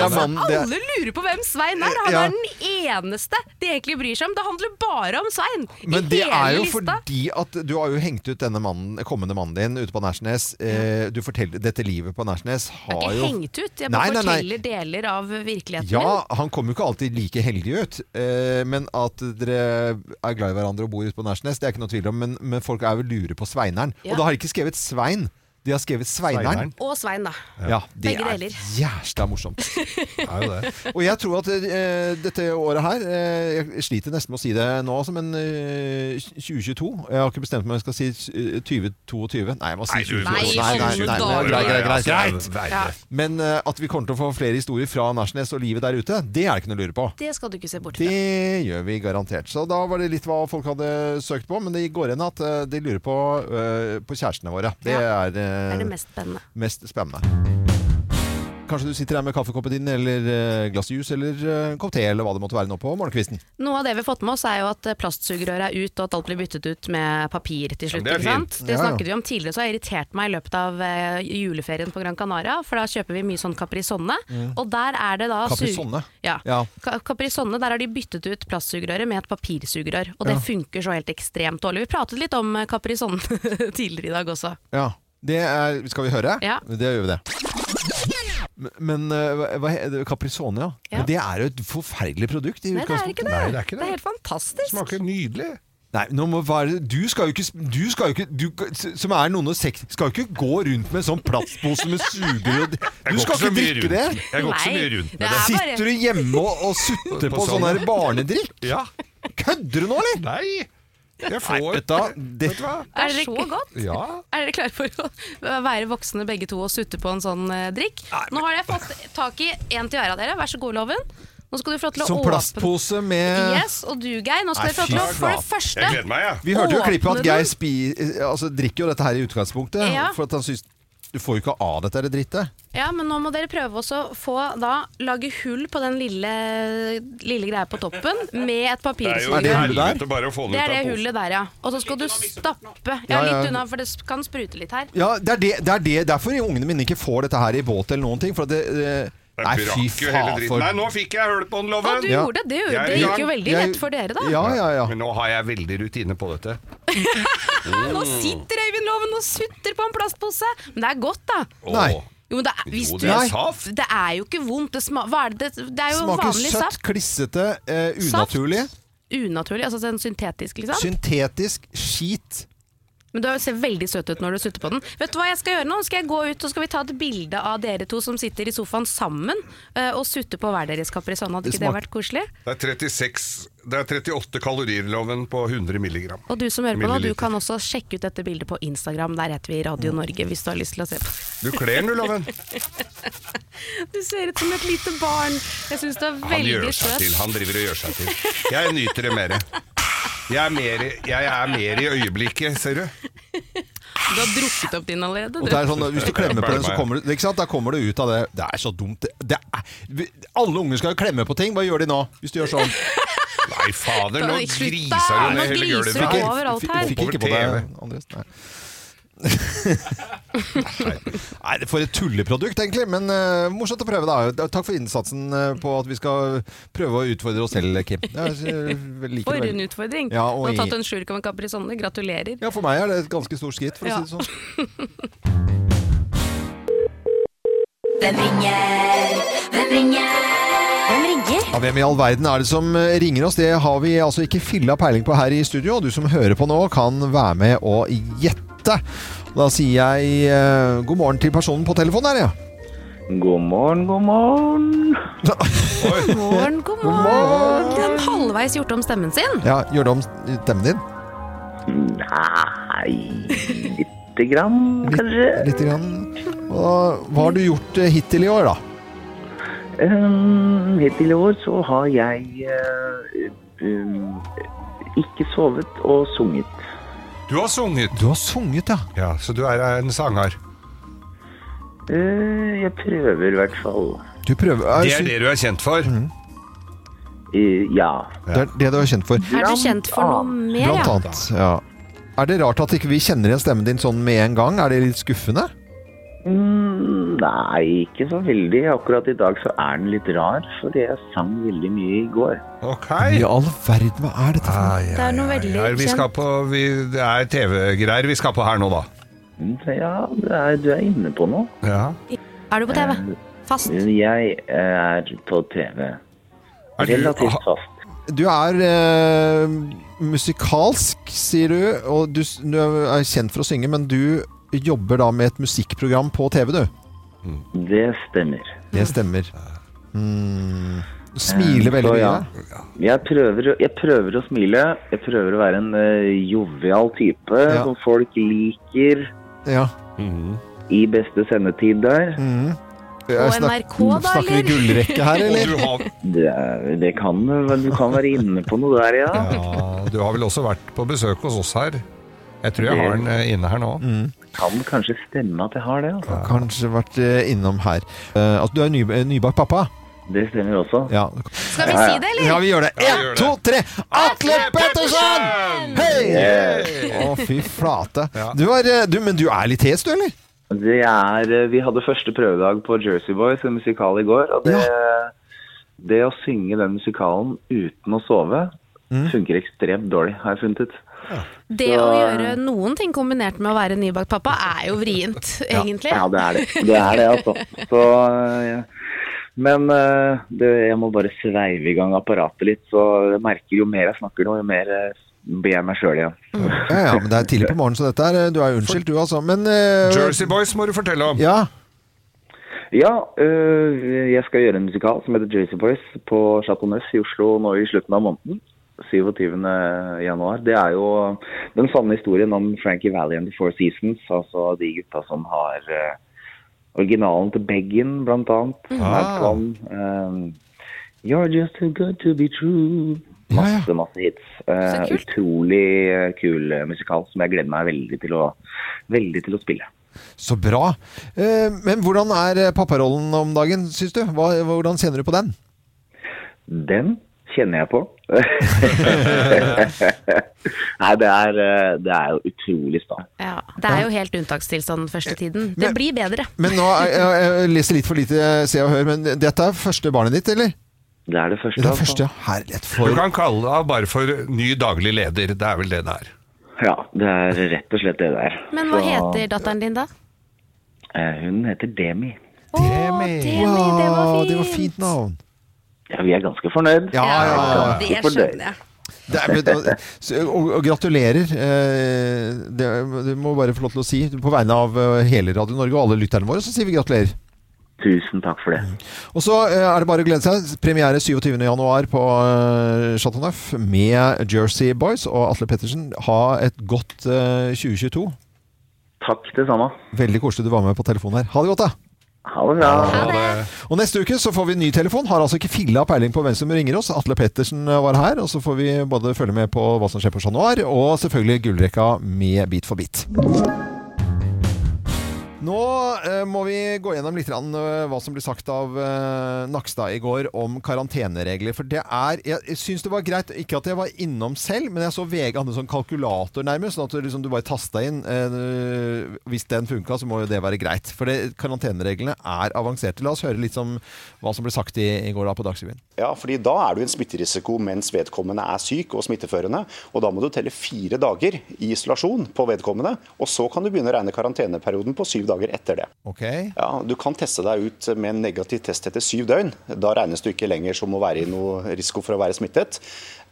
S1: mannen Mm, det er,
S4: Alle lurer på hvem Svein er! Han
S1: Ja.
S4: er den eneste de egentlig bryr seg om. Det handler bare om Svein
S1: Men
S4: i
S1: det
S4: hele
S1: er jo
S4: lista.
S1: fordi at du har jo hengt ut denne mannen, kommende mannen din ute på Nærsnes. Eh, du forteller Dette livet på Nærsnes
S4: Jeg
S1: har
S4: har
S1: jo
S4: ikke hengt ut, jeg bare
S1: Nei, nei, nei.
S4: forteller deler av virkeligheten min.
S1: Ja, han kommer jo ikke alltid like heldig ut. Eh, men at dere er glad i hverandre og bor ute på Nærsnes, det er ikke noe tvil om. Men, men folk er vel lure på Sveineren.
S4: Ja.
S1: Og da har de ikke skrevet Svein, de har skrevet Sveineren.
S2: Sveineren.
S4: Og Svein, da.
S1: Ja, det
S4: Begge
S1: er
S4: deler.
S1: jævla morsomt.
S2: Det er jo det.
S1: Og jeg tror at eh, dette året her eh, Jeg sliter nesten med å si det nå, altså, men eh, 2022 Jeg har ikke bestemt meg om jeg skal si eh, 2022. Nei, jeg må si
S2: Nei, du-
S1: 2022.
S4: Nei, alle
S1: nei, greit,
S4: dager.
S1: greit, greit, greit.
S2: Altså, verre.
S4: Ja.
S1: Men eh, at vi kommer til å få flere historier fra Nærsnes og livet der ute, det er det ikke noe å lure på.
S4: Det skal du ikke se bort fra.
S1: Det gjør vi garantert. Så da var det litt hva folk hadde søkt på, men det går igjen at eh, de lurer på, eh, på kjærestene våre. Det
S4: Ja,
S1: er, eh,
S4: Det er det mest spennende.
S1: mest spennende. Kanskje du sitter her med kaffekoppen din, eller eh, glass juice, eller eh, en kopp te, eller hva det måtte være nå på morgenkvisten.
S4: Noe av det vi har fått med oss er jo at plastsugerøret er ut, og at alt blir byttet ut med papir til slutt.
S2: det er
S4: ikke sant?
S1: fint.
S4: Det
S1: Ja, ja.
S4: snakket vi om tidligere, så har jeg irritert meg i løpet av eh, juleferien på Gran Canaria. For da kjøper vi mye sånn Caprisonne, og der er det da sug-
S1: Caprisonne?
S4: Ja.
S1: Ja.
S4: Ka- Caprisonne, der har de byttet ut plastsugerøret med et papirsugerør, og det funker så helt ekstremt dårlig. Vi pratet litt om eh, Caprisonne tidligere i dag også.
S1: Ja, det er, Skal vi høre?
S4: Ja.
S1: Det gjør vi det. Men, men eh, hva- hva, he- det- Caprisone, ja.
S4: Ja.
S1: Men Det er jo et forferdelig produkt. i
S4: Nei, det er
S1: utgangspunktet.
S4: ikke det.
S2: Nei, det er ikke det.
S4: helt fantastisk.
S2: Smaker nydelig.
S1: Nei, nå må være, du skal jo ikke, sp- du skal jo ikke du, Som er noen og seks Skal jo ikke gå rundt med en sånn plastpose med sugerød Du
S2: Jeg går
S1: skal
S2: så
S1: ikke
S2: mye
S1: drikke
S2: rundt.
S1: det
S2: Jeg går ikke så
S4: Nei,
S2: mye rundt
S4: det
S2: med det.
S4: er bare-
S1: Sitter du hjemme og, og sutter
S2: På
S1: på sånn
S2: sånn.
S1: her barnedrikk?
S2: Ja.
S1: Kødder du nå, eller?
S2: Nei. Jeg får
S1: Vet du hva? Det,
S2: Vet du hva?
S4: Det er så godt.
S2: Ja.
S4: Er dere klare for å være voksne begge to og sutte på en sånn eh, drikk? Nå har jeg fått tak i en til hver av dere. Vær så god, Loven. Nå skal du få lov til å
S1: som
S4: åpne
S1: Sånn plastpose med
S4: Yes, og du, Geir. Nå skal
S1: Nei,
S4: dere få lov til å
S1: fy
S4: For det
S1: flate.
S4: første
S2: Jeg gleder meg, jeg.
S1: Vi hørte jo i klippet
S4: Åpne
S1: at Geir
S4: den.
S1: spi, eh, altså, drikker jo dette her i utgangspunktet
S4: Ja.
S1: For at han synes Du får jo ikke av dette her drittet
S4: Ja, men nå må dere prøve også å få da lage hull på den lille, lille greia på toppen med et
S2: Det er jo
S1: Er
S4: papirsugerør.
S1: det hullet der?
S2: helvete bare å få
S4: Det
S2: den ut
S4: er det
S2: av posen.
S4: hullet der, ja. Og så skal du stappe
S1: Ja,
S4: Ja,
S1: ja.
S4: litt unna, for det kan sprute litt her.
S1: Ja, det er, det, det er det, derfor ungene mine ikke får dette her i båt eller noen ting For at det... eh,
S2: Jeg
S1: Nei, fy
S2: brakk jo hele
S1: faen
S2: dritten.
S1: for
S2: Nei, nå fikk jeg hull på den,
S4: Å,
S2: Loven!
S4: du
S1: Ja.
S4: gjorde det! Det, gjorde-
S2: Jeg-
S4: det gikk jo veldig
S1: Jeg-
S4: lett for dere, da.
S1: Ja, ja, ja.
S2: Men nå har jeg veldig rutine på dette.
S4: Nå sitter Øyvind Loven og sutter på en plastpose! Men det er godt, da.
S2: Åh.
S1: Nei.
S4: Jo, men det er, hvis
S2: Jo,
S4: du,
S2: det er
S1: Nei.
S2: saft.
S4: det er jo ikke vondt. Det, sma, hva er det, det er jo
S1: Smaker
S4: vanlig
S1: søtt,
S4: saft.
S1: klissete, eh, unaturlig,
S4: Unaturlig. Altså sånn syntetisk, liksom.
S1: syntetisk, skit.
S4: Men du ser veldig søt ut når du sutter på den. Vet du hva jeg skal gjøre nå? Skal jeg gå ut og skal vi ta et bilde av dere to som sitter i sofaen sammen eh, og sutter på hver deres Caprisone. Hadde
S1: Det
S4: ikke det
S1: smak-
S4: vært koselig?
S2: Det er 36 Det er 38 kaloriloven på 100 milligram.
S4: Og du som hører på nå, du
S2: Milliliter.
S4: kan også sjekke ut dette bildet på Instagram. Der heter vi Radio Norge, hvis du har lyst til å se på.
S2: Du kler den, du, Loven.
S4: Du ser ut som et lite barn. Jeg syns du er
S2: Han gjør
S4: veldig
S2: seg
S4: søt.
S2: til. Han driver og gjør seg til. Jeg nyter det mer. Jeg er mer, i- jeg er mer i øyeblikket, ser du.
S4: Du har drukket opp din allerede.
S1: Og det
S4: Du.
S1: er sånn, Hvis du klemmer på den, så kommer du, ikke sant? Da kommer du ut av det. Det er så dumt. Det- Det er, vi- alle unger skal jo klemme på ting. Hva gjør de nå, hvis du gjør sånn?
S2: Nei, fader, nå
S4: Slutt da!
S2: griser du
S4: Nå
S2: ned hele
S4: griser du
S2: gulvet.
S4: Det er
S1: Fikk-
S4: overalt
S1: fikk-
S4: her.
S1: Fikk ikke på
S2: Over
S1: deg, Andreas. Nei. Nei, det- for et tulleprodukt, egentlig. Men eh, morsomt å prøve, da. Takk for innsatsen eh, på at vi skal prøve å utfordre oss selv, Kim. Jeg eh, liker
S4: For
S1: det
S4: en
S1: veldig.
S4: utfordring.
S1: Ja, og
S4: du har
S1: i-
S4: tatt en slurk av en Caprisone. Gratulerer.
S1: Ja, for meg er det et ganske stort skritt, for å
S4: Ja.
S1: si det sånn.
S5: Hvem ringer? Hvem ringer? Hvem ringer?
S1: Ja, hvem i all verden er det som eh, ringer oss? Det har vi altså ikke fylla peiling på her i studio. Og du som hører på nå, kan være med og gjette. Da sier jeg eh, god morgen til personen på telefonen her, ja.
S6: God morgen, god morgen.
S4: God morgen, god
S1: God
S4: morgen.
S1: morgen.
S4: Den har halvveis gjort om stemmen sin.
S1: ja gjør det om stemmen din.
S6: Nei, lite grann, kanskje.
S1: Litt grann. Og, hva har du gjort eh, hittil i år, da?
S6: Um, hittil i år så har jeg eh, um, ikke sovet og sunget.
S2: Du har sunget.
S1: Du har sunget, ja.
S2: Ja, Så du er en sanger.
S6: Eh, jeg prøver i hvert fall.
S1: Du prøver eh,
S2: Det er det du er kjent for.
S6: Eh, ja.
S1: det er det du er kjent for.
S4: Er du kjent for noe
S6: annet.
S4: mer,
S1: Blant
S4: ja?
S1: annet. Ja. Er det rart at ikke vi kjenner igjen stemmen din sånn med en gang? Er det litt skuffende?
S6: Mm, nei, ikke så veldig. Akkurat i dag så er den litt rar, fordi jeg sang veldig mye i går.
S2: Ok.
S1: I all verden, hva er dette for noe?
S2: Ah, ja,
S4: Det er noe
S2: ja,
S4: veldig
S2: ja. Vi skal på, vi, det er TV-greier vi skal på her nå, da.
S6: Mm, så ja, du er, du er inne på noe.
S2: Ja.
S4: Er du på TV? Fast.
S6: Jeg er på TV.
S2: Er du-
S6: Relativt fast.
S1: Du er eh, musikalsk, sier du, og du, s- du er kjent for å synge, men du jobber da med et musikkprogram på TV, du.
S6: Det stemmer.
S1: Det stemmer. Mm. Du
S2: Eh,
S1: Smiler veldig
S6: Så
S1: mye.
S6: ja. Jeg prøver, å- jeg prøver å smile. Jeg prøver å være en eh, jovial type
S1: Ja.
S6: som folk liker
S1: Ja.
S6: i beste sendetid der.
S1: Mm. Jeg snak-
S4: NRK da,
S1: Snakker vi
S4: eller?
S1: gullrekke her,
S2: Og
S1: eller?
S2: du har,
S6: Det, er- det kan men du kan være inne på noe der, ja.
S2: ja, du har vel også vært på besøk hos oss her. Jeg tror jeg har den eh, inne her nå.
S4: Mm.
S6: Kan kanskje stemme at jeg har det. Altså.
S1: Kanskje vært eh, innom her. Eh, altså, du er ny, eh, nybakt pappa?
S6: Det stemmer også.
S1: Ja.
S4: Skal vi si det, eller?
S1: ja, vi gjør det.
S2: Ja, vi
S1: Én,
S2: gjør det.
S1: to, tre! Atle Pettersen! Hei! Å, fy flate.
S2: Ja.
S1: Du var, eh, du, men du er litt hes, du, eller?
S6: Det er, eh, vi hadde første prøvedag på Jersey Boys, en musikal i går. Og det, det å synge den musikalen uten å sove
S1: Mm.
S6: funker ekstremt dårlig, har jeg funnet ut.
S4: Det å gjøre noen ting kombinert med å være nybakt pappa er jo vrient, egentlig.
S6: Ja, det er det. Det er det, altså. Så, ja. Men eh, det, jeg må bare sveive i gang apparatet litt, så jeg merker jo mer jeg snakker nå, jo mer eh, blir jeg meg sjøl igjen.
S1: Ja, ja, men det er tidlig på morgenen, så dette er eh, Du er unnskyldt, du altså. Men eh,
S2: Jersey Boys må du fortelle om.
S1: Ja.
S6: Ja, eh, jeg skal gjøre en musikal som heter Jersey Boys på Chateau Neuf i Oslo nå i slutten av måneden. 27. januar. Det er jo den sanne historien om Frankie Valley and the Four Seasons, altså de gutta som har eh, originalen til Beggen, blant annet.
S1: Mm.
S6: som er
S2: Ah.
S6: sånn, eh, You're just too good to be true.
S1: Ja, ja.
S6: Masse, masse hits. Eh,
S4: Så kult.
S6: utrolig eh, kul eh, musikal som jeg gleder meg veldig til å, veldig til å spille.
S1: Så bra. Eh, men hvordan er eh, papparollen om dagen, syns du? Hva, hvordan kjenner du på den?
S6: Den kjenner jeg på. Nei, det er, eh, det er jo utrolig stas.
S4: Ja, det er jo helt unntakstilstand første tiden. Det
S1: Men-
S4: blir bedre.
S1: Men nå, jeg, jeg, jeg leser litt for lite eh, Se og Hør, men dette er første barnet ditt, eller?
S6: Det er det første.
S1: Det er
S6: altså.
S1: første, ja. Herlighet
S2: Du
S1: for
S2: kan kalle deg bare for ny daglig leder. Det er vel det det er.
S6: Ja, det er rett og slett det der. eh,
S4: Men hva heter datteren din da?
S6: Hun heter Demi.
S4: Å, Demi, det var
S1: Wow,
S4: fint!
S1: det var fint navn.
S6: Ja, vi er ganske fornøyd.
S1: Ja, ja, ja.
S4: det
S6: Hvorfor det?
S4: skjønner jeg.
S1: Det er, men- så- og, og gratulerer. eh, Det, det må bare få lov til å si. På vegne av eh, hele Radio Norge og alle lytterne våre, så sier vi gratulerer.
S6: Tusen takk for det.
S1: Og så eh, er det bare å glede seg. Premiere 27. januar på eh, Chateau Neuf med Jersey Boys og Atle Pettersen. Ha et godt eh, 2022.
S6: Takk det samme.
S1: Veldig koselig du var med på telefonen her. Ha det godt, da.
S6: Ha det bra.
S1: Og neste uke så får vi ny telefon. Har altså ikke filla peiling på hvem som ringer oss. Atle Pettersen eh, var her, og så får vi både følge med på hva som skjer på Chat Noir, og selvfølgelig gullrekka med Bit for bit. Nå eh, må vi gå gjennom litt grann, eh, hva som ble sagt av eh, Nakstad i går om karanteneregler. For det er Jeg, jeg syns det var greit, ikke at jeg var innom selv, men jeg så VG hadde en sånn kalkulator nærmest. Sånn at du, liksom, du bare tasta inn eh, Hvis den funka, så må jo det være greit. For det, karantenereglene er avanserte. La oss høre litt om hva som ble sagt i, i går da på Dagsrevyen.
S7: Ja, fordi da er du i en smitterisiko mens vedkommende er syk og smitteførende. Og da må du telle fire dager i isolasjon på vedkommende, og så kan du begynne å regne karanteneperioden på syv dager etter det.
S1: Ok?
S7: Ja, Du kan teste deg ut med en negativ test etter syv døgn. Da regnes du ikke lenger som å være i noe risiko for å være smittet.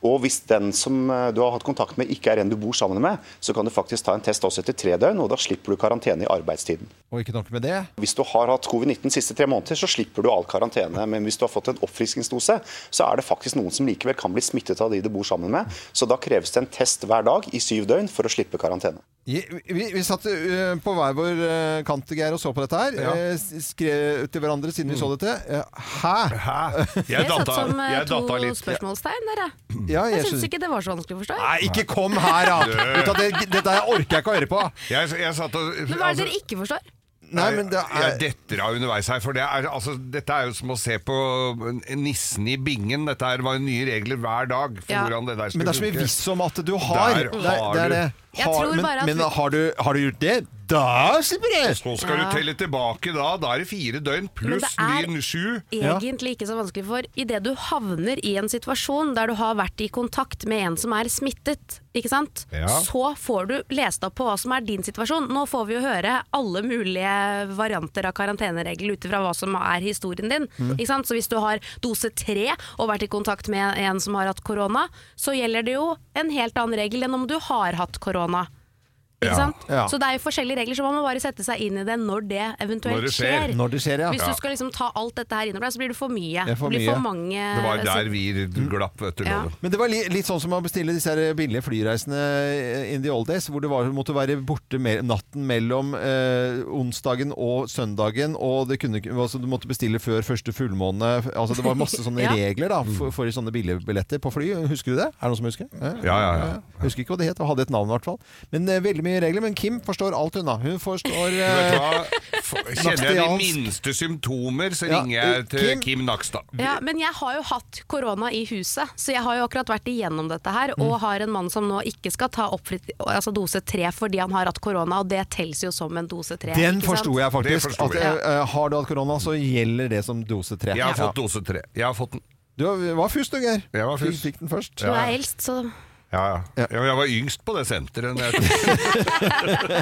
S7: Og hvis den som eh, du har hatt kontakt med ikke er en du bor sammen med, så kan du faktisk ta en test også etter tre døgn, og da slipper du karantene i arbeidstiden.
S1: Og ikke nok med det.
S7: Hvis du har hatt covid-19 siste tre måneder, så slipper du all karantene. Men hvis du har fått en oppfriskningsdose, så er det faktisk noen som likevel kan bli smittet av de du bor sammen med. Så da kreves det en test hver dag i syv døgn for å slippe karantene.
S1: Vi, vi, vi satt eh, på hver vår eh, kant Geir, og så på dette her. Eh, s- skrev til hverandre siden vi så dette. Eh, hæ?
S2: Hæ?
S4: Det satt som eh,
S2: jeg
S4: to
S2: datta litt.
S4: spørsmålstegn der, jeg.
S1: Ja,
S4: Jeg syns
S1: skjønner.
S4: ikke det var så vanskelig å forstå. jeg.
S1: Nei, ikke kom her, da! Vet du hva, det, dette her orker jeg ikke å høre på.
S2: Jeg, jeg satt og
S4: Men hva er det dere ikke forstår?
S1: Nei, men det er,
S2: Jeg detter av underveis her, for det er, altså, dette er jo som å se på nissen i bingen. Dette her var jo nye regler hver dag for
S4: Ja.
S2: hvordan det der
S1: men
S2: skulle
S1: det er så mye
S2: funke.
S1: visst om at du har.
S2: Der
S1: Det er- det er
S2: har
S1: det.
S4: Jeg
S1: Har-
S4: tror bare at
S1: men men
S4: vi-
S1: har, du, har du gjort det? Da slipper jeg!
S2: Så skal du telle tilbake da. Da er det fire døgn
S4: Men
S2: pluss
S4: det er-
S2: ny sju.
S1: Ja.
S4: Egentlig ikke så vanskelig, for idet du havner i en situasjon der du har vært i kontakt med en som er smittet, ikke sant?
S2: Ja.
S4: så får du lest opp på hva som er din situasjon. Nå får vi jo høre alle mulige varianter av karanteneregler ut ifra hva som er historien din.
S2: Mm.
S4: Ikke sant? Så hvis du har dose tre og vært i kontakt med en som har hatt korona, så gjelder det jo en helt annen regel enn om du har hatt korona. Ikke
S2: Ja.
S4: sant?
S1: Ja.
S4: Så det er jo forskjellige regler, så man må bare sette seg inn i det når det eventuelt
S2: Når det skjer.
S4: skjer.
S1: Når det skjer, ja.
S4: Hvis du skal liksom ta alt dette her innover deg, så blir det for mye.
S1: Det er for
S4: blir
S1: mye.
S4: for mange eh,
S2: Det var der vi glapp, vet du.
S4: Ja.
S2: Loven.
S1: Men det var li, litt sånn som å bestille disse her billige flyreisene eh, in the old days, hvor du var, måtte være borte me natten mellom eh, onsdagen og søndagen, og det kunne, ikke- altså, du måtte bestille før første fullmåne. Altså, det var masse sånne
S4: Ja.
S1: regler da, for, for sånne billige billetter på fly. Husker du det? Er det noen som husker? Eh?
S2: Mm. Ja, ja, ja.
S1: Husker ikke hva det het, og hadde et navn i hvert fall. Men eh, veldig mye regler, men Kim forstår alt hun da. Hun forstår...
S2: Vet du
S1: Eh,
S2: hva? F- Kjenner jeg de
S1: Nakstiansk.
S2: minste symptomer, så
S1: Ja, eh,
S2: ringer jeg til
S1: Kim-
S2: Kim, Nakstad.
S4: Ja, men jeg har jo hatt korona i huset, så jeg har jo akkurat vært igjennom dette her,
S1: Mm.
S4: og har en mann som nå ikke skal ta oppfritt, altså dose tre fordi han har hatt korona, og det telles jo som en dose tre.
S1: den forsto jeg
S2: Det
S1: faktisk.
S2: forsto
S1: At,
S2: jeg.
S1: eh, har du hatt korona, så gjelder det som dose 3.
S2: Jeg har fått dose tre. Jeg har fått den.
S1: Du var først, du, Geir.
S2: Jeg var
S1: Fikk-
S2: først.
S1: Fikk den først.
S4: Du er eldst, så
S2: Ja, ja. Ja, Jeg var yngst på det senteret. når jeg tok-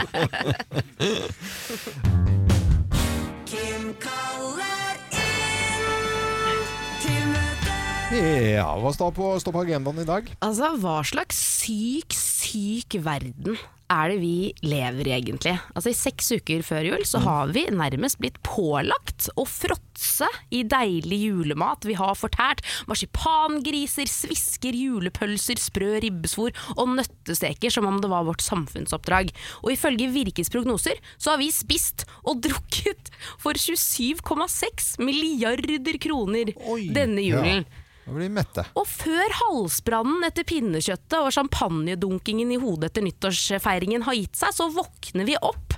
S1: Ja, hva står på, står på agendaen i dag?
S4: Altså, hva slags syk, syk verden er det vi lever i egentlig? Altså, I seks uker før jul så har vi nærmest blitt pålagt å fråtse i deilig julemat. Vi har fortært marsipangriser, svisker, julepølser, sprø ribbesvor og nøttesteker som om det var vårt samfunnsoppdrag. Og ifølge Virkes prognoser så har vi spist og drukket for 27,6 milliarder kroner
S1: Oi.
S4: denne julen.
S1: Nå blir vi mette.
S4: Og før halsbrannen etter pinnekjøttet og champagnedunkingen i hodet etter nyttårsfeiringen har gitt seg, så våkner vi opp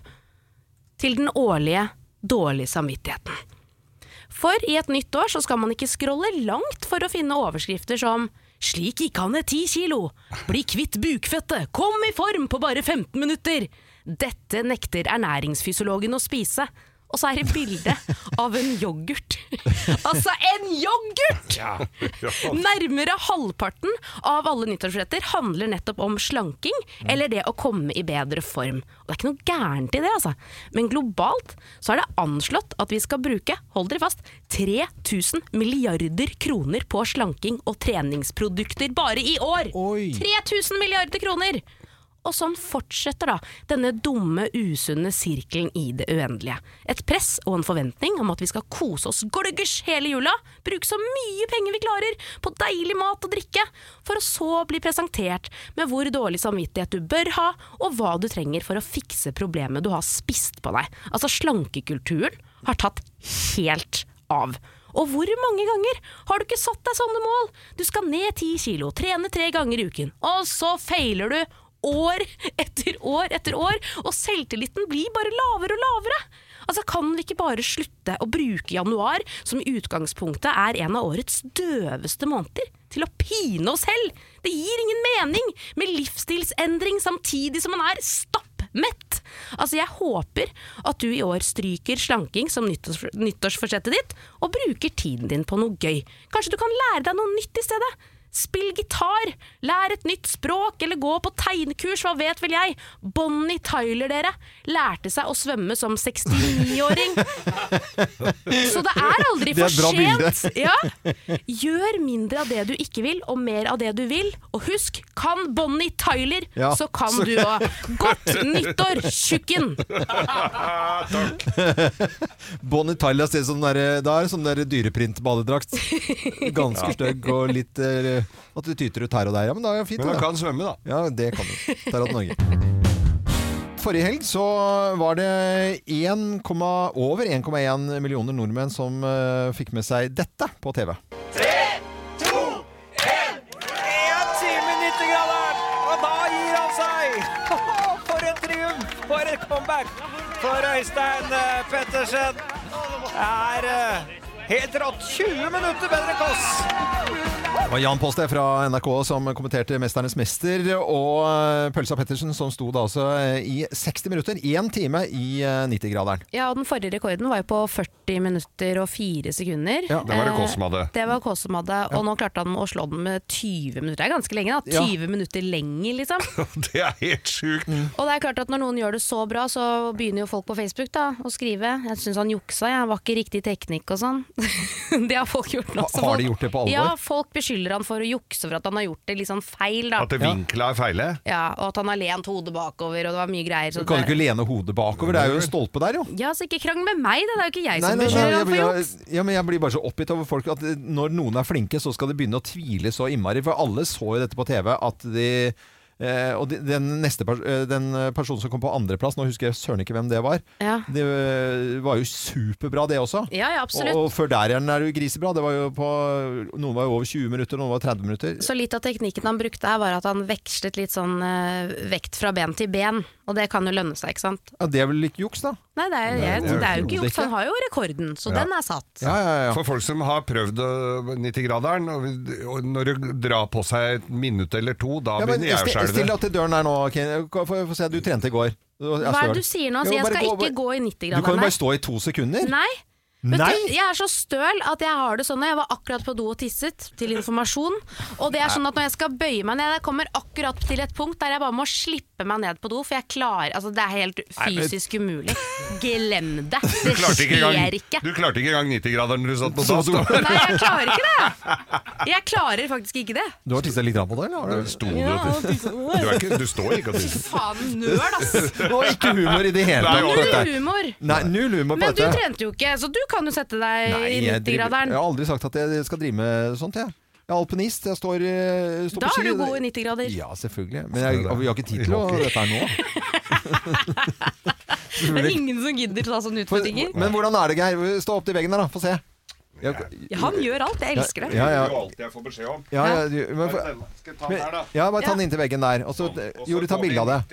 S4: til den årlige dårlige samvittigheten. For i et nytt år så skal man ikke scrolle langt for å finne overskrifter som Slik gikk han ned ti kilo. Bli kvitt bukfettet. Kom i form på bare 15 minutter. Dette nekter ernæringsfysiologen å spise. og så er det bilde av en yoghurt. altså, en yoghurt!
S2: Ja.
S4: Nærmere halvparten av alle nyttårsforretter handler nettopp om slanking, eller det å komme i bedre form. Og det er ikke noe gærent i det, altså. Men globalt så er det anslått at vi skal bruke, hold dere fast, 3000 milliarder kroner på slanking og treningsprodukter bare i år!
S1: Oi.
S4: 3000 milliarder kroner! Og sånn fortsetter da denne dumme, usunne sirkelen i det uendelige. Et press og en forventning om at vi skal kose oss gløggers hele jula, bruke så mye penger vi klarer på deilig mat og drikke, for å så bli presentert med hvor dårlig samvittighet du bør ha, og hva du trenger for å fikse problemet du har spist på deg. Altså slankekulturen har tatt helt av. Og hvor mange ganger har du ikke satt deg sånne mål? Du skal ned ti kilo, trene tre ganger i uken, og så feiler du år etter år etter år, og selvtilliten blir bare lavere og lavere. Altså Kan vi ikke bare slutte å bruke januar, som i utgangspunktet er en av årets døveste måneder, til å pine oss selv? Det gir ingen mening med livsstilsendring samtidig som man er stappmett. Altså Jeg håper at du i år stryker slanking som nyttårs nyttårsforsettet ditt, og bruker tiden din på noe gøy. Kanskje du kan lære deg noe nytt i stedet? Spill gitar, lær et nytt språk eller gå på tegnekurs, hva vet vel jeg. Bonnie Tyler, dere, lærte seg å svømme som 69-åring. Så det er aldri
S1: Det er
S4: for
S1: et bra bilde.
S4: sent. Ja. Gjør mindre av det du ikke vil, og mer av det du vil. Og husk, kan Bonnie Tyler,
S1: Ja.
S4: så kan du òg. Godt nyttår, tjukken!
S1: Bonnie Tyler ser ut som den der, da er det sånn der dyreprintbadedrakt. Ganske stygg og litt eh, At det tyter ut her og der. Ja, men da er det fint.
S2: Men han
S1: da.
S2: kan svømme, da.
S1: Ja, det kan du. Tarot Norge. Forrige helg så var det 1, over 1,1 millioner nordmenn som eh, fikk med seg dette på TV.
S8: En time 90 grader, og da gir han seg! For en triumf, for et comeback for Øystein eh, Pettersen. Det er eh, helt rått. 20 minutter bedre enn Kåss.
S1: Det var Jan Poste fra NRK som kommenterte 'Mesternes mester', og eh, Pølsa Pettersen som sto da altså eh, i 60 minutter, én time i eh, 90-graderen.
S4: Ja, og den forrige rekorden var jo på 40 minutter og 4 sekunder.
S1: Ja,
S2: det var det Kåss som hadde.
S4: Eh, Det var Kåss som hadde, og nå klarte han å slå den med 20 minutter. Det er ganske lenge, da.
S1: Ja.
S4: 20 minutter lenger, liksom.
S2: Det er helt sjukt.
S4: Og det er klart at når noen gjør det så bra, så begynner jo folk på Facebook da å skrive. Jeg syns han juksa, jeg var ikke riktig teknikk og sånn. det har folk gjort nå.
S1: Ha-
S4: så
S1: har de
S4: folk-
S1: gjort det på alvor?
S4: Ja, folk beskylder han for å jukse for at han har gjort det litt sånn feil, da.
S2: At det vinkla er feile.
S4: Ja, og at han har lent hodet bakover, og det var mye greier. Så
S1: Du kan jo
S4: det-
S1: ikke lene hodet bakover, det er jo en stolpe der, jo.
S4: Ja, så ikke krangl med meg, da. det er jo ikke jeg
S1: Nei,
S4: som
S1: nei, nei,
S4: beskylder
S1: jeg,
S4: han for
S1: blir-
S4: juks.
S1: ja, men jeg blir bare så oppgitt over folk at eh, når noen er flinke, så skal de begynne å tvile så innmari. For alle så jo dette på TV at de eh, og de- den, neste pers eh, den eh, personen som kom på andreplass, nå husker jeg søren ikke hvem det var,
S4: Ja.
S1: det eh, var jo superbra, det også.
S4: Ja, ja, absolutt.
S1: Og, og før der igjen er det jo grisebra. Det var jo på, noen var jo over 20 minutter, noen var 30 minutter.
S4: Så litt av teknikken han brukte her var at han vekslet litt sånn eh, vekt fra ben til ben, og det kan jo lønne seg, ikke sant?
S1: Ja, det er vel litt juks, da?
S4: Nei, det er, jeg,
S1: det er jo
S4: det er jo ikke
S1: overhodet
S4: juks, han
S1: ikke.
S4: har jo rekorden, så den er satt.
S1: Ja, ja, ja.
S2: For folk som har prøvd øh, 90-graderen, og vi- og når du drar på seg et minutt eller to, da
S1: Ja, men
S2: begynner jeg å
S1: sti- Still
S2: skjelve.
S1: deg til døren der nå, Ken. Få få se, du trente i går.
S4: Hva
S1: Altså,
S4: er det du sier nå? Så jeg skal ikke gå i
S1: Du kan jo
S4: 90-graderen
S1: bare
S4: her.
S1: stå i to sekunder.
S4: Nei. Vet
S1: Nei?
S4: Du, jeg er så støl at jeg har det sånn Jeg var akkurat på do og tisset, til informasjon. Og det er sånn at når jeg skal bøye meg ned, jeg kommer akkurat til et punkt der jeg bare må slippe meg ned på do, for jeg klarer Altså, det er helt fysisk umulig. Glem det. Det
S2: klarte ikke engang-
S4: skjer ikke.
S2: Du klarte ikke engang 90-graderen når du satt på
S1: Så
S2: dass. da.
S4: Nei, jeg klarer ikke det! Jeg klarer faktisk ikke det.
S1: Du har tissa litt grann på det, eller? har du-
S2: Sto du og du, er ikke, du står ikke og tisser.
S4: Faen, nerd, ass!
S1: Og ikke humor i det hele
S2: Nei,
S1: tatt. på
S4: Null
S1: dette.
S4: humor.
S1: Nei, null humor på
S4: Men du
S1: dette.
S4: trente jo ikke, så du kan jo sette deg
S1: Nei,
S4: i
S1: jeg, driver, jeg
S4: 90-graderen.
S1: har aldri sagt at jeg skal drive med sånt, jeg. Jeg er alpinist, jeg står, eh, står
S4: Da
S1: på ski.
S4: er du god i 90-grader.
S1: Ja, selvfølgelig. Men jeg, vi har ikke tid til å dette her nå.
S4: Det er ingen som gidder ta sånne
S1: For,
S4: utfordringer.
S1: men hvordan er det, Geir? Stå opp til veggen der, da. Få se. Jeg,
S4: Ja, han gjør alt, jeg elsker det.
S1: ja, ja,
S2: alltid jeg får beskjed om.
S1: ja, ja, du- men, for-
S2: Skal jeg ta
S1: men, ja, bare ta den inntil veggen der. Og så gjorde du ta bilde av det.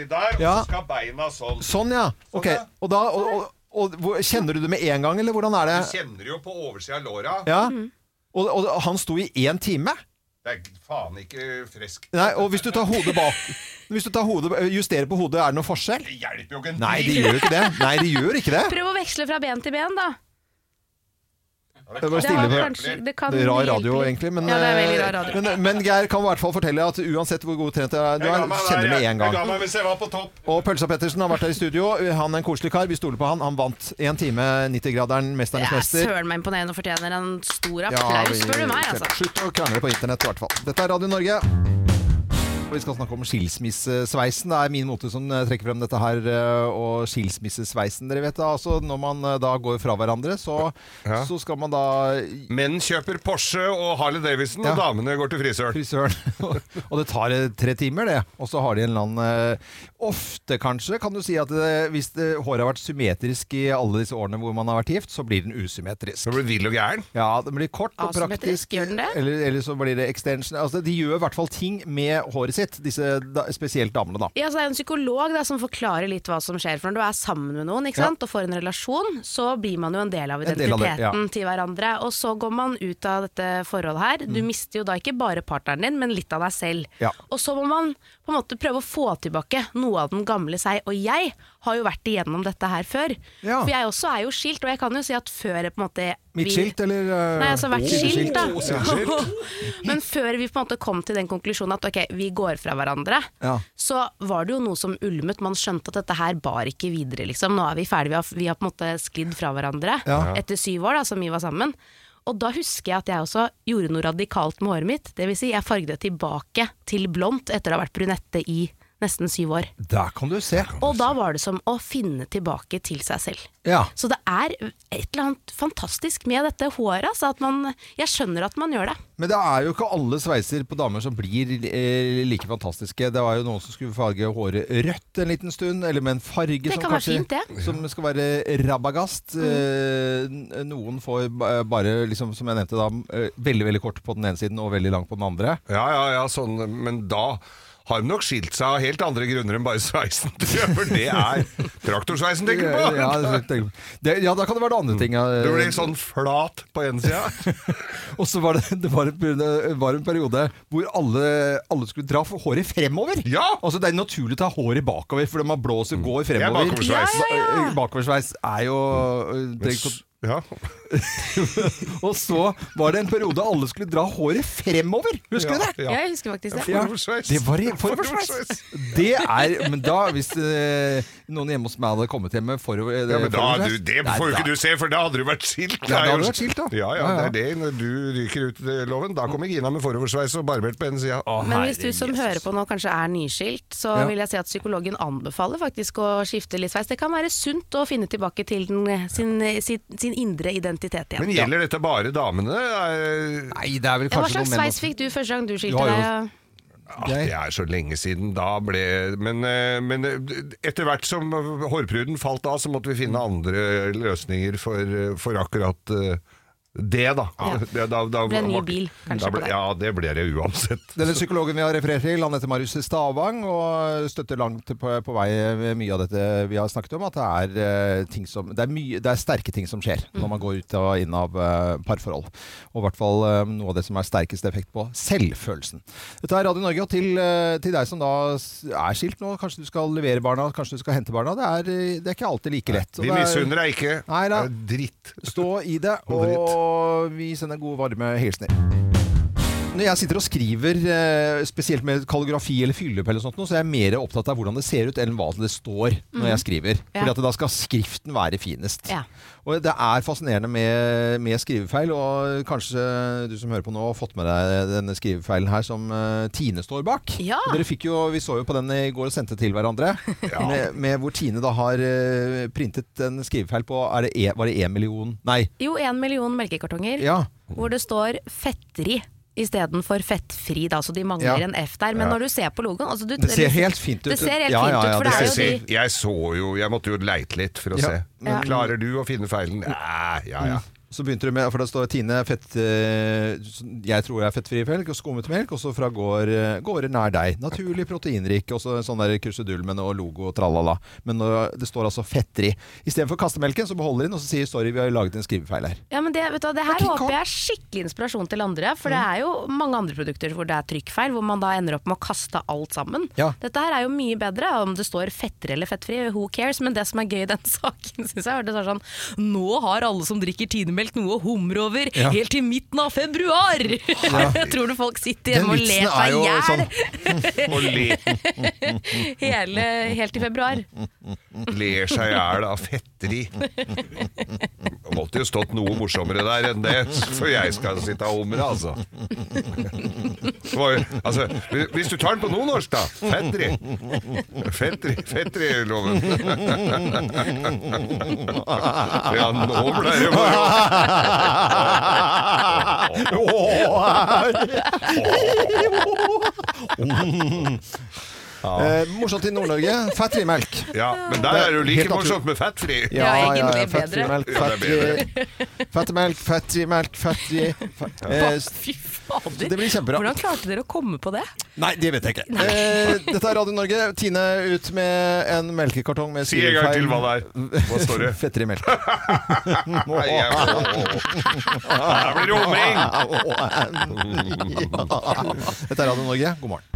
S1: Ja. skal
S2: beina sånn.
S1: Sånn, ja. Ok. Og da og, og, og, hvor- Kjenner du det med en gang, eller hvordan er det?
S2: kjenner jo på oversida av låra.
S1: Ja.
S4: Mm.
S1: Og, og han sto i én time?
S2: Det er faen ikke friskt.
S1: Nei, og hvis du tar hodet bak Hvis du tar hodet, justerer på hodet, er det noen forskjell?
S2: Det hjelper jo ikke en
S1: Nei, de gjør jo ikke det. Nei, de gjør ikke det.
S4: Prøv å veksle fra ben til ben, da.
S1: Det var
S4: Det var
S1: stille for
S4: kanskje det kan
S1: det er rar
S4: hjelpe
S1: radio,
S4: litt.
S1: egentlig. Men, eh,
S4: ja, det er veldig rar radio.
S1: men, men Geir kan i hvert fall fortelle at uansett hvor god trent du er, du
S2: Jeg
S1: er
S2: ga meg der,
S1: kjenner med
S2: jeg.
S1: en
S2: Jeg ga
S1: gang.
S2: meg hvis jeg var på topp.
S1: Og Pølsa Pettersen har vært her i studio. Han er en koselig kar. Vi stoler på han. Han vant én time 90-graderen, Mesternes
S4: Ja,
S1: mester.
S4: søren meg imponerende og fortjener en stor
S1: Ja,
S4: applaus,
S1: vi-
S4: spør du meg, altså.
S1: Slutt å krangle på internett, i hvert fall. Dette er Radio Norge. Og Vi skal snakke om skilsmissesveisen. Det er min mote som eh, trekker frem dette her. eh, Og skilsmissesveisen, dere vet da. Altså, når man eh, da går fra hverandre, så,
S2: Ja.
S1: så skal man da i-
S2: Menn kjøper Porsche og Harley Davidson,
S1: Ja.
S2: og damene går til frisøren.
S1: frisøren. og det tar eh, tre timer, det. Og så har de en eller annen eh, Ofte, kanskje, kan du si at eh, hvis det, håret har vært symmetrisk i alle disse årene hvor man har vært gift, så blir den usymmetrisk.
S2: Så blir du vill og gæren.
S1: Ja, det blir kort og
S4: Asymmetrisk,
S1: praktisk.
S4: gjør den det?
S1: Eller, eller så blir det extension. Altså, de gjør i hvert fall ting med håret sitt, disse da, spesielt damene, da.
S4: Ja, så det er en psykolog da, som forklarer litt hva som skjer. For når du er sammen med noen ikke
S1: Ja.
S4: sant, og får en relasjon, så blir man jo en del av
S1: En del
S4: identiteten
S1: av det, ja.
S4: til hverandre. Og så går man ut av dette forholdet her. Du mister jo da ikke bare partneren din, men litt av deg selv.
S1: Mm. Ja.
S4: Og så må man på en måte prøve å få tilbake noe av den gamle seg. Og jeg har jo vært igjennom dette her før.
S1: Ja.
S4: For jeg også er jo skilt, og jeg kan jo si at før jeg på en måte vi-
S1: Midtskilt, eller eh,
S4: Nei, altså vært skilt, da.
S2: Å, sideskilt.
S4: Men før vi på en måte kom til den konklusjonen at ok, vi går fra hverandre,
S1: Ja.
S4: så var det jo noe som ulmet. Man skjønte at dette her bar ikke videre, liksom. Nå er vi ferdige, vi har, vi har på en måte sklidd fra hverandre
S1: Ja.
S4: etter syv år da, som vi var sammen. Og da husker jeg at jeg også gjorde noe radikalt med håret mitt. Det vil si, jeg farget det tilbake til blondt etter å ha vært brunette i nesten syv år.
S1: Der kan du se.
S4: Og da var det som å finne tilbake til seg selv.
S1: Ja.
S4: Så det er et eller annet fantastisk med dette håret. Altså at man, jeg skjønner at man gjør det.
S1: Men det er jo ikke alle sveiser på damer som blir eh, like fantastiske. Det var jo noen som skulle farge håret rødt en liten stund, eller med en farge
S4: Det
S1: som
S4: kan være
S1: kanskje
S4: fint, det. Mm.
S1: Som skal være rabagast. Eh, n- noen får ba- bare, liksom, som jeg nevnte da, eh, veldig veldig kort på den ene siden og veldig langt på den andre.
S2: Ja, ja, ja, sånn, men da har de nok skilt seg av helt andre grunner enn bare sveisen. For det er traktorsveisen, tenker du på?
S1: Ja, det- det- det, ja, da kan det være det andre ting. ja.
S2: Du blir sånn flat på en sida.
S1: Og så var det, det var, en, periode- var en periode hvor alle, alle skulle dra for håret fremover.
S2: Ja!
S1: Altså Det er naturlig å ta håret bakover, fordi man blåser og går
S2: Jeg er
S1: fremover.
S2: bakoversveis.
S4: Ja, ja, ja.
S1: Eh, Bakoversveis er jo det,
S2: Ja.
S1: Og så var det en periode alle skulle dra håret fremover! Husker du det?
S2: Ja.
S4: Jeg husker faktisk det.
S1: Ja,
S2: Foroversveis.
S1: det var i foroversveis. Det er Men da, hvis eh, noen hjemme hos meg hadde kommet hjem med forover...
S2: Ja, men da, du,
S1: foroversveis,
S2: det
S1: nei,
S2: får jo
S1: da-
S2: ikke du se, for da hadde du vært skilt.
S1: Ja, da
S2: Det er jo-
S1: hadde du vært skilt, da.
S2: Ja, ja,
S1: Ja, ja.
S2: det er det. Når du ryker ut eh, loven, da kommer Gina med foroversveis og barbert på en side.
S4: Men hvis du som hører på nå kanskje er nyskilt, så vil jeg si at psykologen anbefaler faktisk å skifte litt sveis. Det kan være sunt å finne tilbake til den, sin, sin, sin indre identitet
S2: Men
S4: igjen.
S2: gjelder dette bare damene? Er-
S1: Nei, det er vel
S4: Ja, hva
S1: kanskje
S4: slags
S1: noen menn
S4: sveis
S1: også.
S4: fikk du første gang du
S1: Du
S4: skilte
S1: har jo-
S4: deg?
S2: Ah, det er så lenge siden da ble Men, eh, men eh, etter hvert som hårpruden falt av, så måtte vi finne andre løsninger for, eh, for akkurat eh, det, da.
S4: Ja.
S2: Det, da, da
S4: Ble en ny bil, kanskje,
S2: da
S4: på
S2: ble,
S4: deg.
S2: ja, det ble det uansett.
S1: Denne psykologen vi har referert til, han heter Marius Stavang, og støtter langt på, på vei ved mye av dette vi har snakket om, at det er, eh, ting som, det er, mye, det er sterke ting som skjer når man går ut og inn av eh, parforhold. Og i hvert fall eh, noe av det som er sterkest effekt på selvfølelsen. Dette er Radio Norge, og til, eh, til deg som da s- er skilt nå, kanskje du skal levere barna, kanskje du skal hente barna, det er, eh, det er ikke alltid like lett.
S2: Vi
S1: Og det er-
S2: misunner deg ikke.
S1: Nei da.
S2: Det er Dritt.
S1: Stå i det,
S2: Noe dritt.
S1: og vi sender gode, varme hilsener. Når jeg sitter og skriver, eh, spesielt med kalligrafi eller fyllepp, eller sånt, noe, så er jeg mer opptatt av hvordan det ser ut, enn hva det står når jeg skriver.
S4: Mm. Ja.
S1: Fordi at da skal skriften være finest.
S4: Ja.
S1: Og det er fascinerende med, med skrivefeil, og kanskje du som hører på nå, har fått med deg denne skrivefeilen her som eh, Tine står bak.
S4: Ja.
S1: Og Dere fikk jo, vi så jo på den i går og sendte til hverandre, med, med hvor Tine da har eh, printet en skrivefeil på, er det e, var det en million? Nei.
S4: Jo, en million melkekartonger
S1: Ja.
S4: hvor det står 'fetteri'. Istedenfor fettfri, da, så de mangler
S1: Ja.
S4: en F der. Men når du ser på logoen altså du,
S1: Det ser helt fint ut.
S4: Det ser helt
S1: Ja,
S4: fint
S1: ja, ja,
S4: ut, for
S1: det
S4: det,
S2: Jeg,
S1: ser
S4: er jo
S2: ser,
S4: de
S2: jeg så jo Jeg måtte jo leite litt for å
S1: Ja.
S2: se. Klarer du å finne feilen? Ja, ja, ja.
S1: Så begynte det med, for det står Tine fett, eh, Jeg tror jeg er fettfri melk og skummet melk, og så fra gård, eh, gårder nær deg. Naturlig proteinrik, og så en sånn der krusedull med noe logo og tralala. Men nå- det står altså fettri. Istedenfor kastemelken, så beholder de den, og så sier sorry, vi har laget en skrivefeil her.
S4: Ja, men det, vet du, hva, det her
S1: King Kong.
S4: håper jeg er skikkelig inspirasjon til andre. For det
S1: Mm.
S4: er jo mange andre produkter hvor det er trykkfeil, hvor man da ender opp med å kaste alt sammen.
S1: Ja.
S4: Dette her er jo mye bedre, om det står fetter eller fettfri, who cares. Men det som er gøy i den saken, syns jeg, er det står sånn Nå har alle som drikker tinemelk noe å humre over
S1: Ja.
S4: helt til midten av februar! jeg tror du folk sitter
S1: Den
S4: hjemme og
S1: vitsen
S4: ler
S1: er
S4: seg
S1: jo
S4: i hjel
S1: sånn
S2: Og le,
S4: hele- helt til februar.
S2: ler seg i hjel av fetteri. Det måtte jo stått noe morsommere der enn det, før jeg skal sitte og humre, altså. Det var jo, altså. Hvis du tar den på nordnorsk, da. Fetteri. Fetteri, fetteri-loven. Ja, nå ble det bare
S1: Eh, morsomt i Nord-Norge. Fettfri melk.
S2: Ja, men der er det jo like
S1: Helt naturlig.
S2: morsomt med fettfri.
S4: Ja, egentlig
S1: fettfri
S4: bedre.
S1: melk,
S2: Ja, det er
S1: fettfri Fettfri melk, fettfri melk, fettfri fe- eh, s-
S4: Fy fader!
S1: Det blir kjempebra.
S4: Hvordan klarte dere å komme på det?
S1: Nei, det vet jeg ikke. Eh, dette er Radio Norge. Tine ut med en melkekartong med
S2: Si en gang til hva det er. Hva står det?
S1: Fettfri melk.
S2: Nei, jeg- Her blir det humring!
S1: Dette er Radio Norge, god morgen.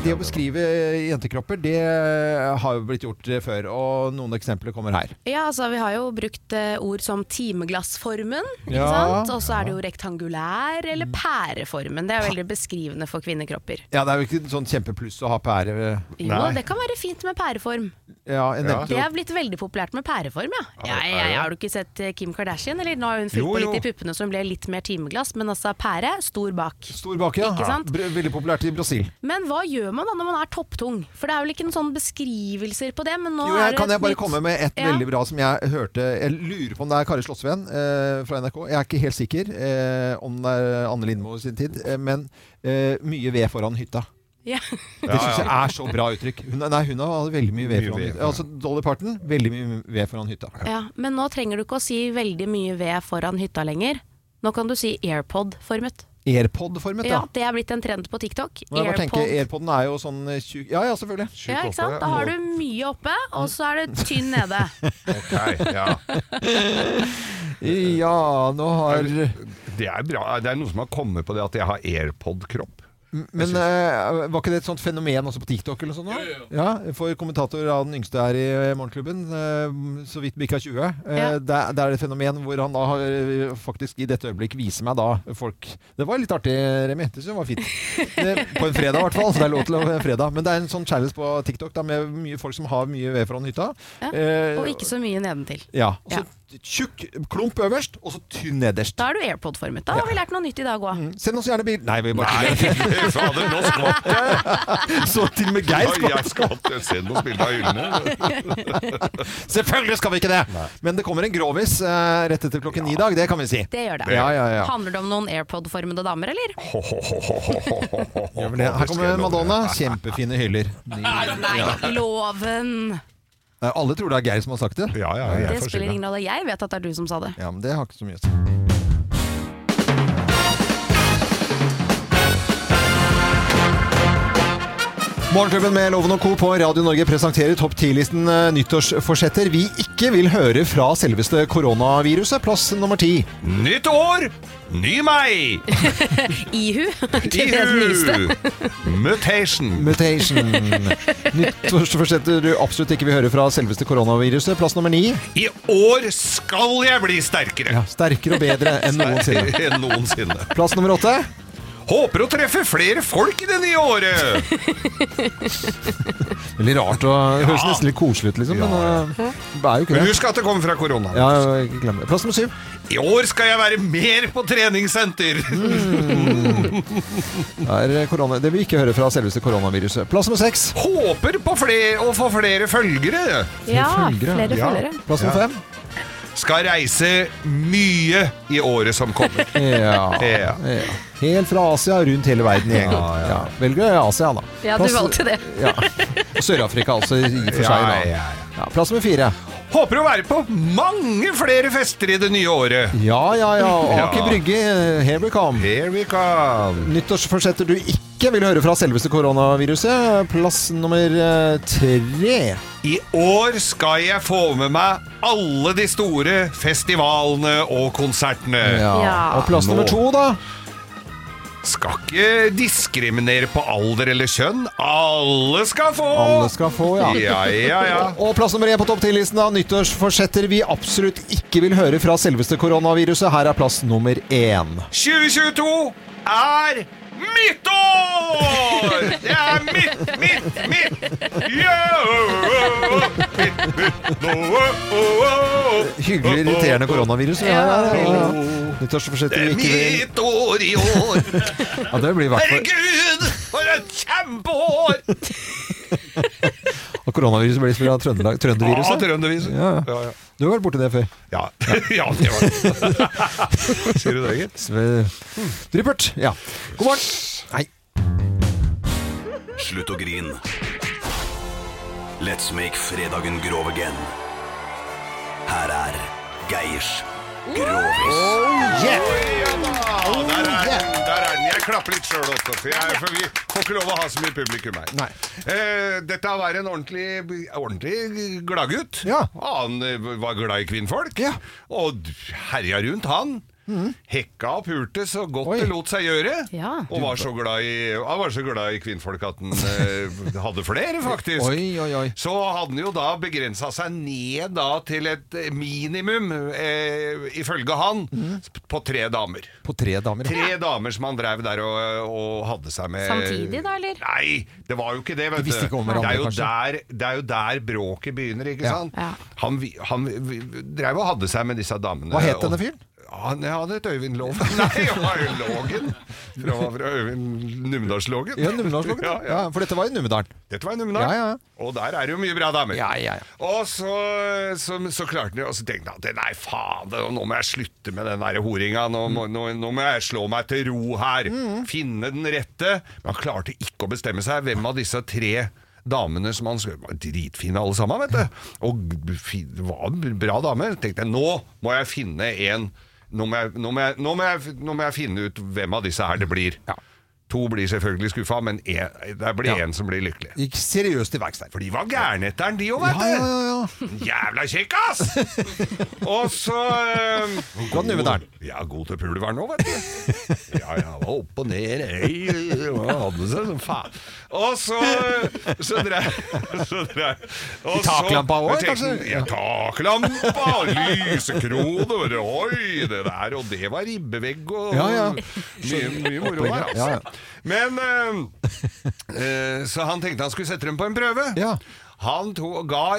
S1: Det å beskrive eh, jentekropper, det eh, har jo blitt gjort før, og noen eksempler kommer her.
S4: Ja, altså Vi har jo brukt eh, ord som timeglassformen. ikke
S1: Ja. Mm.
S4: sant? Og så er det jo rektangulær eller pæreformen. Det er veldig beskrivende for kvinnekropper.
S1: Ja, det er jo ikke sånn kjempepluss å ha pære
S4: Jo, det kan være fint med pæreform.
S1: Ja, jeg nevnte
S4: Det
S1: jo
S4: er blitt veldig populært med pæreform, ja. ja, ja, ja. Har du ikke sett eh, Kim Kardashian? Eller nå har hun fylt
S2: Jo,
S4: på
S2: jo.
S4: litt i puppene så hun ble litt mer timeglass, men altså pære, stor bak.
S1: Stor bake, ja.
S4: Ikke sant?
S1: Br- Veldig populært i Brasil.
S4: Men hva gjør man da når man er topptung? For det er vel ikke noen sånne beskrivelser på det, men nå
S1: Jo,
S4: er
S1: jeg,
S4: det
S1: kan
S4: et
S1: jeg bare
S4: nytt-
S1: komme med et
S4: Ja.
S1: veldig bra som jeg hørte Jeg lurer på om det er Kari Slottsveen eh, fra NRK. Jeg er ikke helt sikker eh, om det er Anne Lindmo i sin tid, eh, men eh, mye ved foran hytta.
S4: Ja.
S1: Det syns jeg er så bra uttrykk. Hun, nei, hun hadde veldig mye ved
S2: Mye
S1: foran
S2: ved
S1: hytta. Altså Dolly Parton, veldig mye ved foran hytta.
S4: Ja, men nå trenger du ikke å si veldig mye ved foran hytta lenger. Nå kan du si AirPod-formet.
S1: Airpod-formet,
S4: Ja,
S1: da.
S4: det er blitt en trend på TikTok.
S1: Må jeg bare tenke, Airpoden er jo sånn eh, tjukk Ja ja, selvfølgelig.
S4: Ja, ikke sant? Da har du mye oppe, og så er du tynn nede.
S2: Ok, ja.
S1: Ja, nå har
S2: Det er bra. Det er noen som har kommet på det at jeg har airpod-kropp.
S1: Men eh, var ikke det et sånt fenomen også på TikTok eller noe sånt? da? Ja, for kommentator av den yngste her i eh, Morgenklubben, eh, så vidt bikka 20, eh,
S4: Ja.
S1: der, der er det et fenomen hvor han da har, eh, faktisk i dette øyeblikk viser meg da folk Det var litt artig, Remi. Det synes jeg var fint. Det- På en fredag i hvert fall, så det er lov til å være fredag. Men det er en sånn challenge på TikTok da, med mye folk som har mye ved foran hytta.
S4: Ja,
S1: Eh,
S4: Og ikke så mye nedentil.
S1: ja, og så tjukk klump øverst, og så tynn nederst.
S4: Da er du AirPod-formet. Da har vi lært noe nytt i dag òg.
S1: Send oss gjerne bil... Nei, vi bare
S2: Nei, fader, nå skvatt jeg!
S1: Så til og med Geir
S2: Oi,
S1: skvatt.
S2: Jeg skvatt. Jeg ser noen bilder av hyllene.
S1: Selvfølgelig skal vi ikke det! Men det kommer en grovis eh, rett etter klokken ni i dag, det kan vi si.
S4: Det gjør det.
S1: Ja, ja, ja.
S4: Handler det om noen AirPod-formede damer, eller?
S1: Her kommer Madonna. Kjempefine hyller. Ny-
S4: Nei, loven!
S1: Eh, Alle tror det er Geir som har sagt det.
S2: Ja, ja, jeg
S4: Det
S2: får
S4: spiller
S2: skylda.
S4: ingen rolle. Jeg vet at det er du som sa det.
S1: Ja, men det har ikke så mye å si. Morgenklubben med Loven og Co. på Radio Norge presenterer topp 10-listen eh, nyttårsforsetter vi ikke vil høre fra selveste koronaviruset. Plass nummer ti.
S2: Nytt år, ny meg!
S4: Ihu. Det er det nyeste.
S2: Mutation.
S1: Mutation. Nyttårsforsetter du absolutt ikke vil høre fra selveste koronaviruset. Plass nummer ni.
S2: I år skal jeg bli sterkere.
S1: Ja, sterkere og bedre enn noensinne.
S2: Enn noensinne.
S1: Plass nummer åtte.
S2: Håper å treffe flere folk i det nye året.
S1: Veldig rart og det høres nesten litt koselig ut, liksom, men eh, det er jo ikke
S2: Men
S1: det.
S2: husk at det kommer fra korona.
S1: Ja, jeg glemmer det. Plass nummer syv.
S2: I år skal jeg være mer på treningssenter.
S1: Det er eh, korona. Det vil vi ikke høre fra selveste koronaviruset. Plass nummer seks.
S2: Håper på flere, å få flere følgere.
S4: Ja,
S1: Følgere.
S4: flere
S1: Ja.
S4: følgere.
S1: Plass nummer fem.
S2: Skal reise mye i året som kommer.
S1: Ja.
S2: Ja.
S1: ja. Helt fra Asia rundt hele verden i en gang. Ja, Velger Asia, da.
S4: Ja, du valgte det.
S1: Ja. Og Sør-Afrika altså i og for seg.
S2: Ja,
S1: Da.
S2: ja, ja.
S1: Ja, plass nummer fire.
S2: Håper å være på mange flere fester i det nye året.
S1: Ja, ja, ja. og
S2: Ja.
S1: Aker Brygge, here we come.
S2: Here we come.
S1: Nyttårsforsetter du ikke vil høre fra selveste koronaviruset. Plass nummer eh, tre.
S2: I år skal jeg få med meg alle de store festivalene og konsertene.
S1: Ja.
S4: Ja.
S1: Og plass
S2: Nå.
S1: nummer to, da?
S2: Skal ikke diskriminere på alder eller kjønn. Alle skal få!
S1: Alle skal få, ja.
S2: Ja, ja, ja.
S1: Og plass nummer én på topp 10-listen av nyttårsforsetter vi absolutt ikke vil høre fra selveste koronaviruset. Her er plass nummer én.
S2: 2022 er mitt år! Det er mitt, mitt, mitt! Yeah! Mitt, mitt, noe, oh, oh.
S1: Hyggelig irriterende koronavirus. Oh, vi har her, oh. Ja, ja. Nyttårsforsetter vi ikke vil
S2: Mitt år i år!
S1: ja, det blir i hvert fall.
S2: Herregud, for et kjempeår!
S1: Og koronaviruset blir fra Trøndelag.
S2: Ja,
S1: Trønderviruset.
S2: Trønderviruset.
S1: Ja, ja.
S2: Ja, ja.
S1: Du har vært borti det før.
S2: Ja. ja, det var det. Sier du det, gitt?
S1: Sve- Dryppert. Ja. God morgen. Hei.
S9: Slutt å grin. Let's make fredagen grov again. Her er Geirs Grovis.
S2: Ja, der er den. Der er den. Jeg klapper litt sjøl også, for, jeg, for vi får ikke lov å ha så mye publikum her.
S1: Nei.
S2: Eh, dette var en ordentlig, ordentlig gladgutt.
S1: Ja.
S2: Han eh, var glad i kvinnfolk,
S1: Ja. Mm.
S2: og d- herja rundt, han. Hekka og pulte så godt
S1: Oi.
S2: det lot seg gjøre.
S4: Ja.
S2: Og var så glad i, han var så glad i kvinnfolk at han eh, hadde flere, faktisk.
S1: Oi, oi, oi.
S2: Så hadde han jo da begrensa seg ned da til et eh, minimum, eh, ifølge han,
S1: Mhm.
S2: sp- på tre damer.
S1: På tre damer.
S2: Tre damer som han drev der og, og hadde seg med
S4: Samtidig da, eller?
S2: Nei, det var jo ikke det, vet
S1: De visste ikke om
S2: du.
S1: hverandre,
S2: det, er jo der,
S1: kanskje?
S2: det er jo der bråket begynner, ikke
S1: Ja.
S2: sant?
S4: Ja.
S2: Han, vi- han vi- drev og hadde seg med disse damene.
S1: Hva het
S2: og-
S1: denne fyren?
S2: Han jeg hadde et Øyvind Lov. Nei, han var jo Lågen. Fra, fra Øyvind Numedalslågen.
S1: Ja, Numedalslågen.
S2: Ja, ja.
S1: Ja, for dette var i Numedal.
S2: Dette var i Numedal.
S1: Ja, ja.
S2: Og der er det jo mye bra damer.
S1: Ja, ja, ja.
S2: Og så, så, så klarte han jo, og så tenkte han at nei, faen, det- nå må jeg slutte med den der horinga. Nå må, nå, nå må jeg slå meg til ro her.
S1: Mm.
S2: Finne den rette. Men han klarte ikke å bestemme seg. Hvem av disse tre damene som han skulle var Dritfine alle sammen, vet du. Og fi- det var en bra dame. Tenkte jeg, nå må jeg finne en nå må, jeg, nå, må jeg, nå, må jeg, nå må jeg finne ut hvem av disse her det blir. To blir selvfølgelig skuffa, men en, det blir én som blir lykkelig.
S1: Gikk seriøst til verks der.
S2: For de var gærne etter den, de òg, vet
S1: Ja, ja, ja, ja.
S2: du! Sånn Jævla kjekkas! Og så eh,
S1: God Numedalen.
S2: Ja, god til pulveren òg, vet du. Ja, ja, var opp og ned ei, hva Hadde seg som faen. Og så Så drev så drev- og
S1: I taklampa
S2: så-
S1: også,
S2: jeg tenkte,
S1: kanskje?
S2: Ja, taklampa, lysekrone Oi, det der og det var ribbevegg og
S1: Ja, ja.
S2: Mye, mye moro der, altså.
S1: Ja, ja.
S2: Men eh, eh, Så han tenkte han skulle sette dem på en prøve.
S1: Ja.
S2: Han to, ga,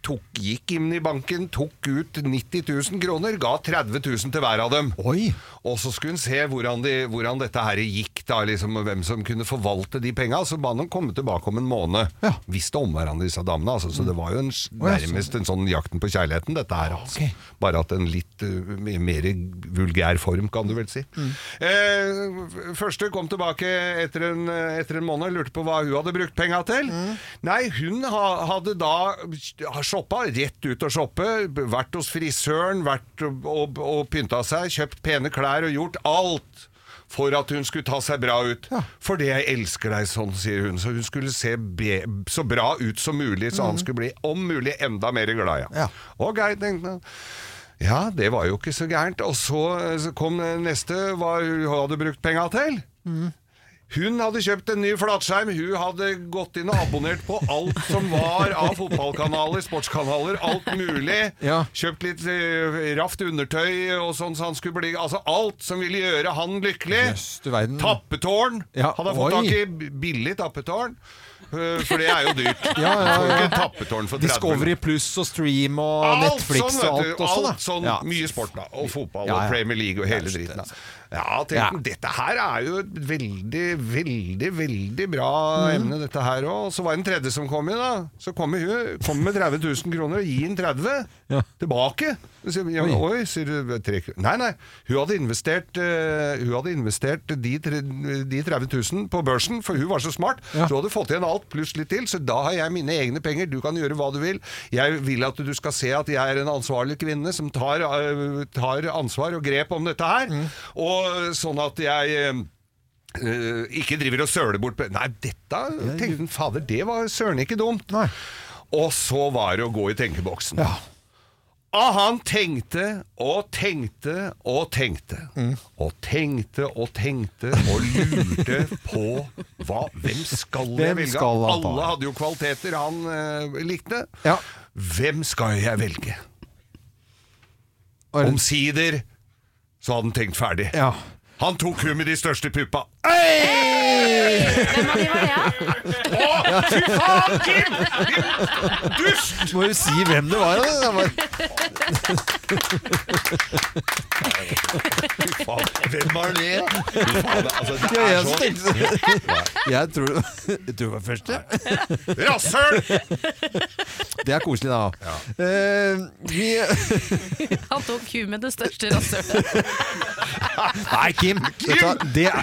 S2: tok, gikk inn i banken, tok ut 90 000 kroner, ga 30 000 til hver av dem.
S1: Oi.
S2: Og så skulle hun se hvordan, de, hvordan dette her gikk, da, liksom, og hvem som kunne forvalte de penga. Så ba han dem komme tilbake om en måned.
S1: Ja.
S2: Visste om hverandre, disse damene. Altså, så det var jo en, s-
S1: Å, ja, så-
S2: nærmest en sånn Jakten på kjærligheten, dette her. Altså.
S1: Ok.
S2: Bare at en litt uh, mer vulgær form, kan du vel si.
S1: Mm.
S2: Eh, første kom tilbake etter en, etter en måned, lurte på hva hun hadde brukt penga til.
S1: Mm.
S2: Nei, hun ha, hadde da har shoppa, rett ut og shoppe, vært hos frisøren, vært og, og, og pynta seg, kjøpt pene klær og gjort alt. For at hun skulle ta seg bra ut. Fordi jeg elsker deg sånn, sier hun. Så hun skulle se be så bra ut som mulig, så han skulle bli om mulig enda mer glad i
S1: Ja.
S2: henne. Ok, tenkte han. Ja, det var jo ikke så gærent. Og så, så kom eh, neste, hva hun hadde brukt penga til. Hun hadde kjøpt en ny flatskjerm, hun hadde gått inn og abonnert på alt som var av fotballkanaler, sportskanaler, alt mulig.
S1: Ja.
S2: Kjøpt litt eh, raft undertøy og sånn så han skulle bli Altså alt som ville gjøre han lykkelig.
S1: Jøss, du verden.
S2: Tappetårn.
S1: Ja,
S2: hadde han fått
S1: oi.
S2: tak i billig tappetårn. eh, For det er jo dyrt.
S1: Ja, ja,
S2: Får
S1: ja.
S2: ikke Tappetårn for 30
S1: Discovery Pluss og Stream og
S2: Alt
S1: Netflix
S2: sånn,
S1: og
S2: vet
S1: alt
S2: du,
S1: også, da.
S2: Alt sånn,
S1: Ja.
S2: Mye sport, da. Og
S1: Ja,
S2: fotball
S1: ja.
S2: og Premier League og hele
S1: Det er
S2: driten.
S1: det,
S2: da. Ja, tenkte
S1: Ja.
S2: han, dette her er jo et veldig, veldig, veldig bra
S1: Mhm.
S2: emne, dette her òg. Så var det en tredje som kom inn, da. Så kommer hun kom med 30 000 kroner og gir en 30
S1: Ja.
S2: tilbake. Så sier vi, ja,
S1: Oi.
S2: oi, sier du. Tre, kr- nei, nei. Hun hadde investert, eh, hun hadde investert de, tre- de 30 000 på børsen, for hun var så smart.
S1: Ja.
S2: Så hadde du fått igjen alt, pluss litt til. Så da har jeg mine egne penger. Du kan gjøre hva du vil. Jeg vil at du skal se at jeg er en ansvarlig kvinne som tar, eh, tar ansvar og grep om dette her.
S1: Mm.
S2: Og sånn at jeg eh, eh, ikke driver og søler bort pe- Nei, dette tenkte han Fader, det var søren ikke dumt.
S1: Nei.
S2: Og så var det å gå i tenkeboksen.
S1: Ja.
S2: Og han tenkte og tenkte og tenkte.
S1: Mm.
S2: Og tenkte og tenkte og lurte på hva, hvem skal jeg
S1: Hvem
S2: velge?
S1: skal han ta?
S2: Alle hadde jo kvaliteter han eh, likte.
S1: Ja.
S2: Hvem skal jeg velge?
S1: Og-
S2: Omsider så hadde han tenkt ferdig.
S1: ja.
S2: Han tok hun med de største puppa.
S4: Hvem av de var det? ja?
S2: Å, fy faen, Kim! Dust!
S1: Må jo si hvem det var. da. Det var-
S2: Fy faen, Hvem var det? Fy faen, altså, det
S1: Ja,
S2: er
S1: jeg
S2: så-
S1: som tenkte Jeg tror, jeg tror det sånn? var første.
S2: Rasshøl!
S1: Det er koselig, da. Eh, vi,
S4: Han tok ku med det største rasshølet.
S1: nei, Kim! Vet du hva, det er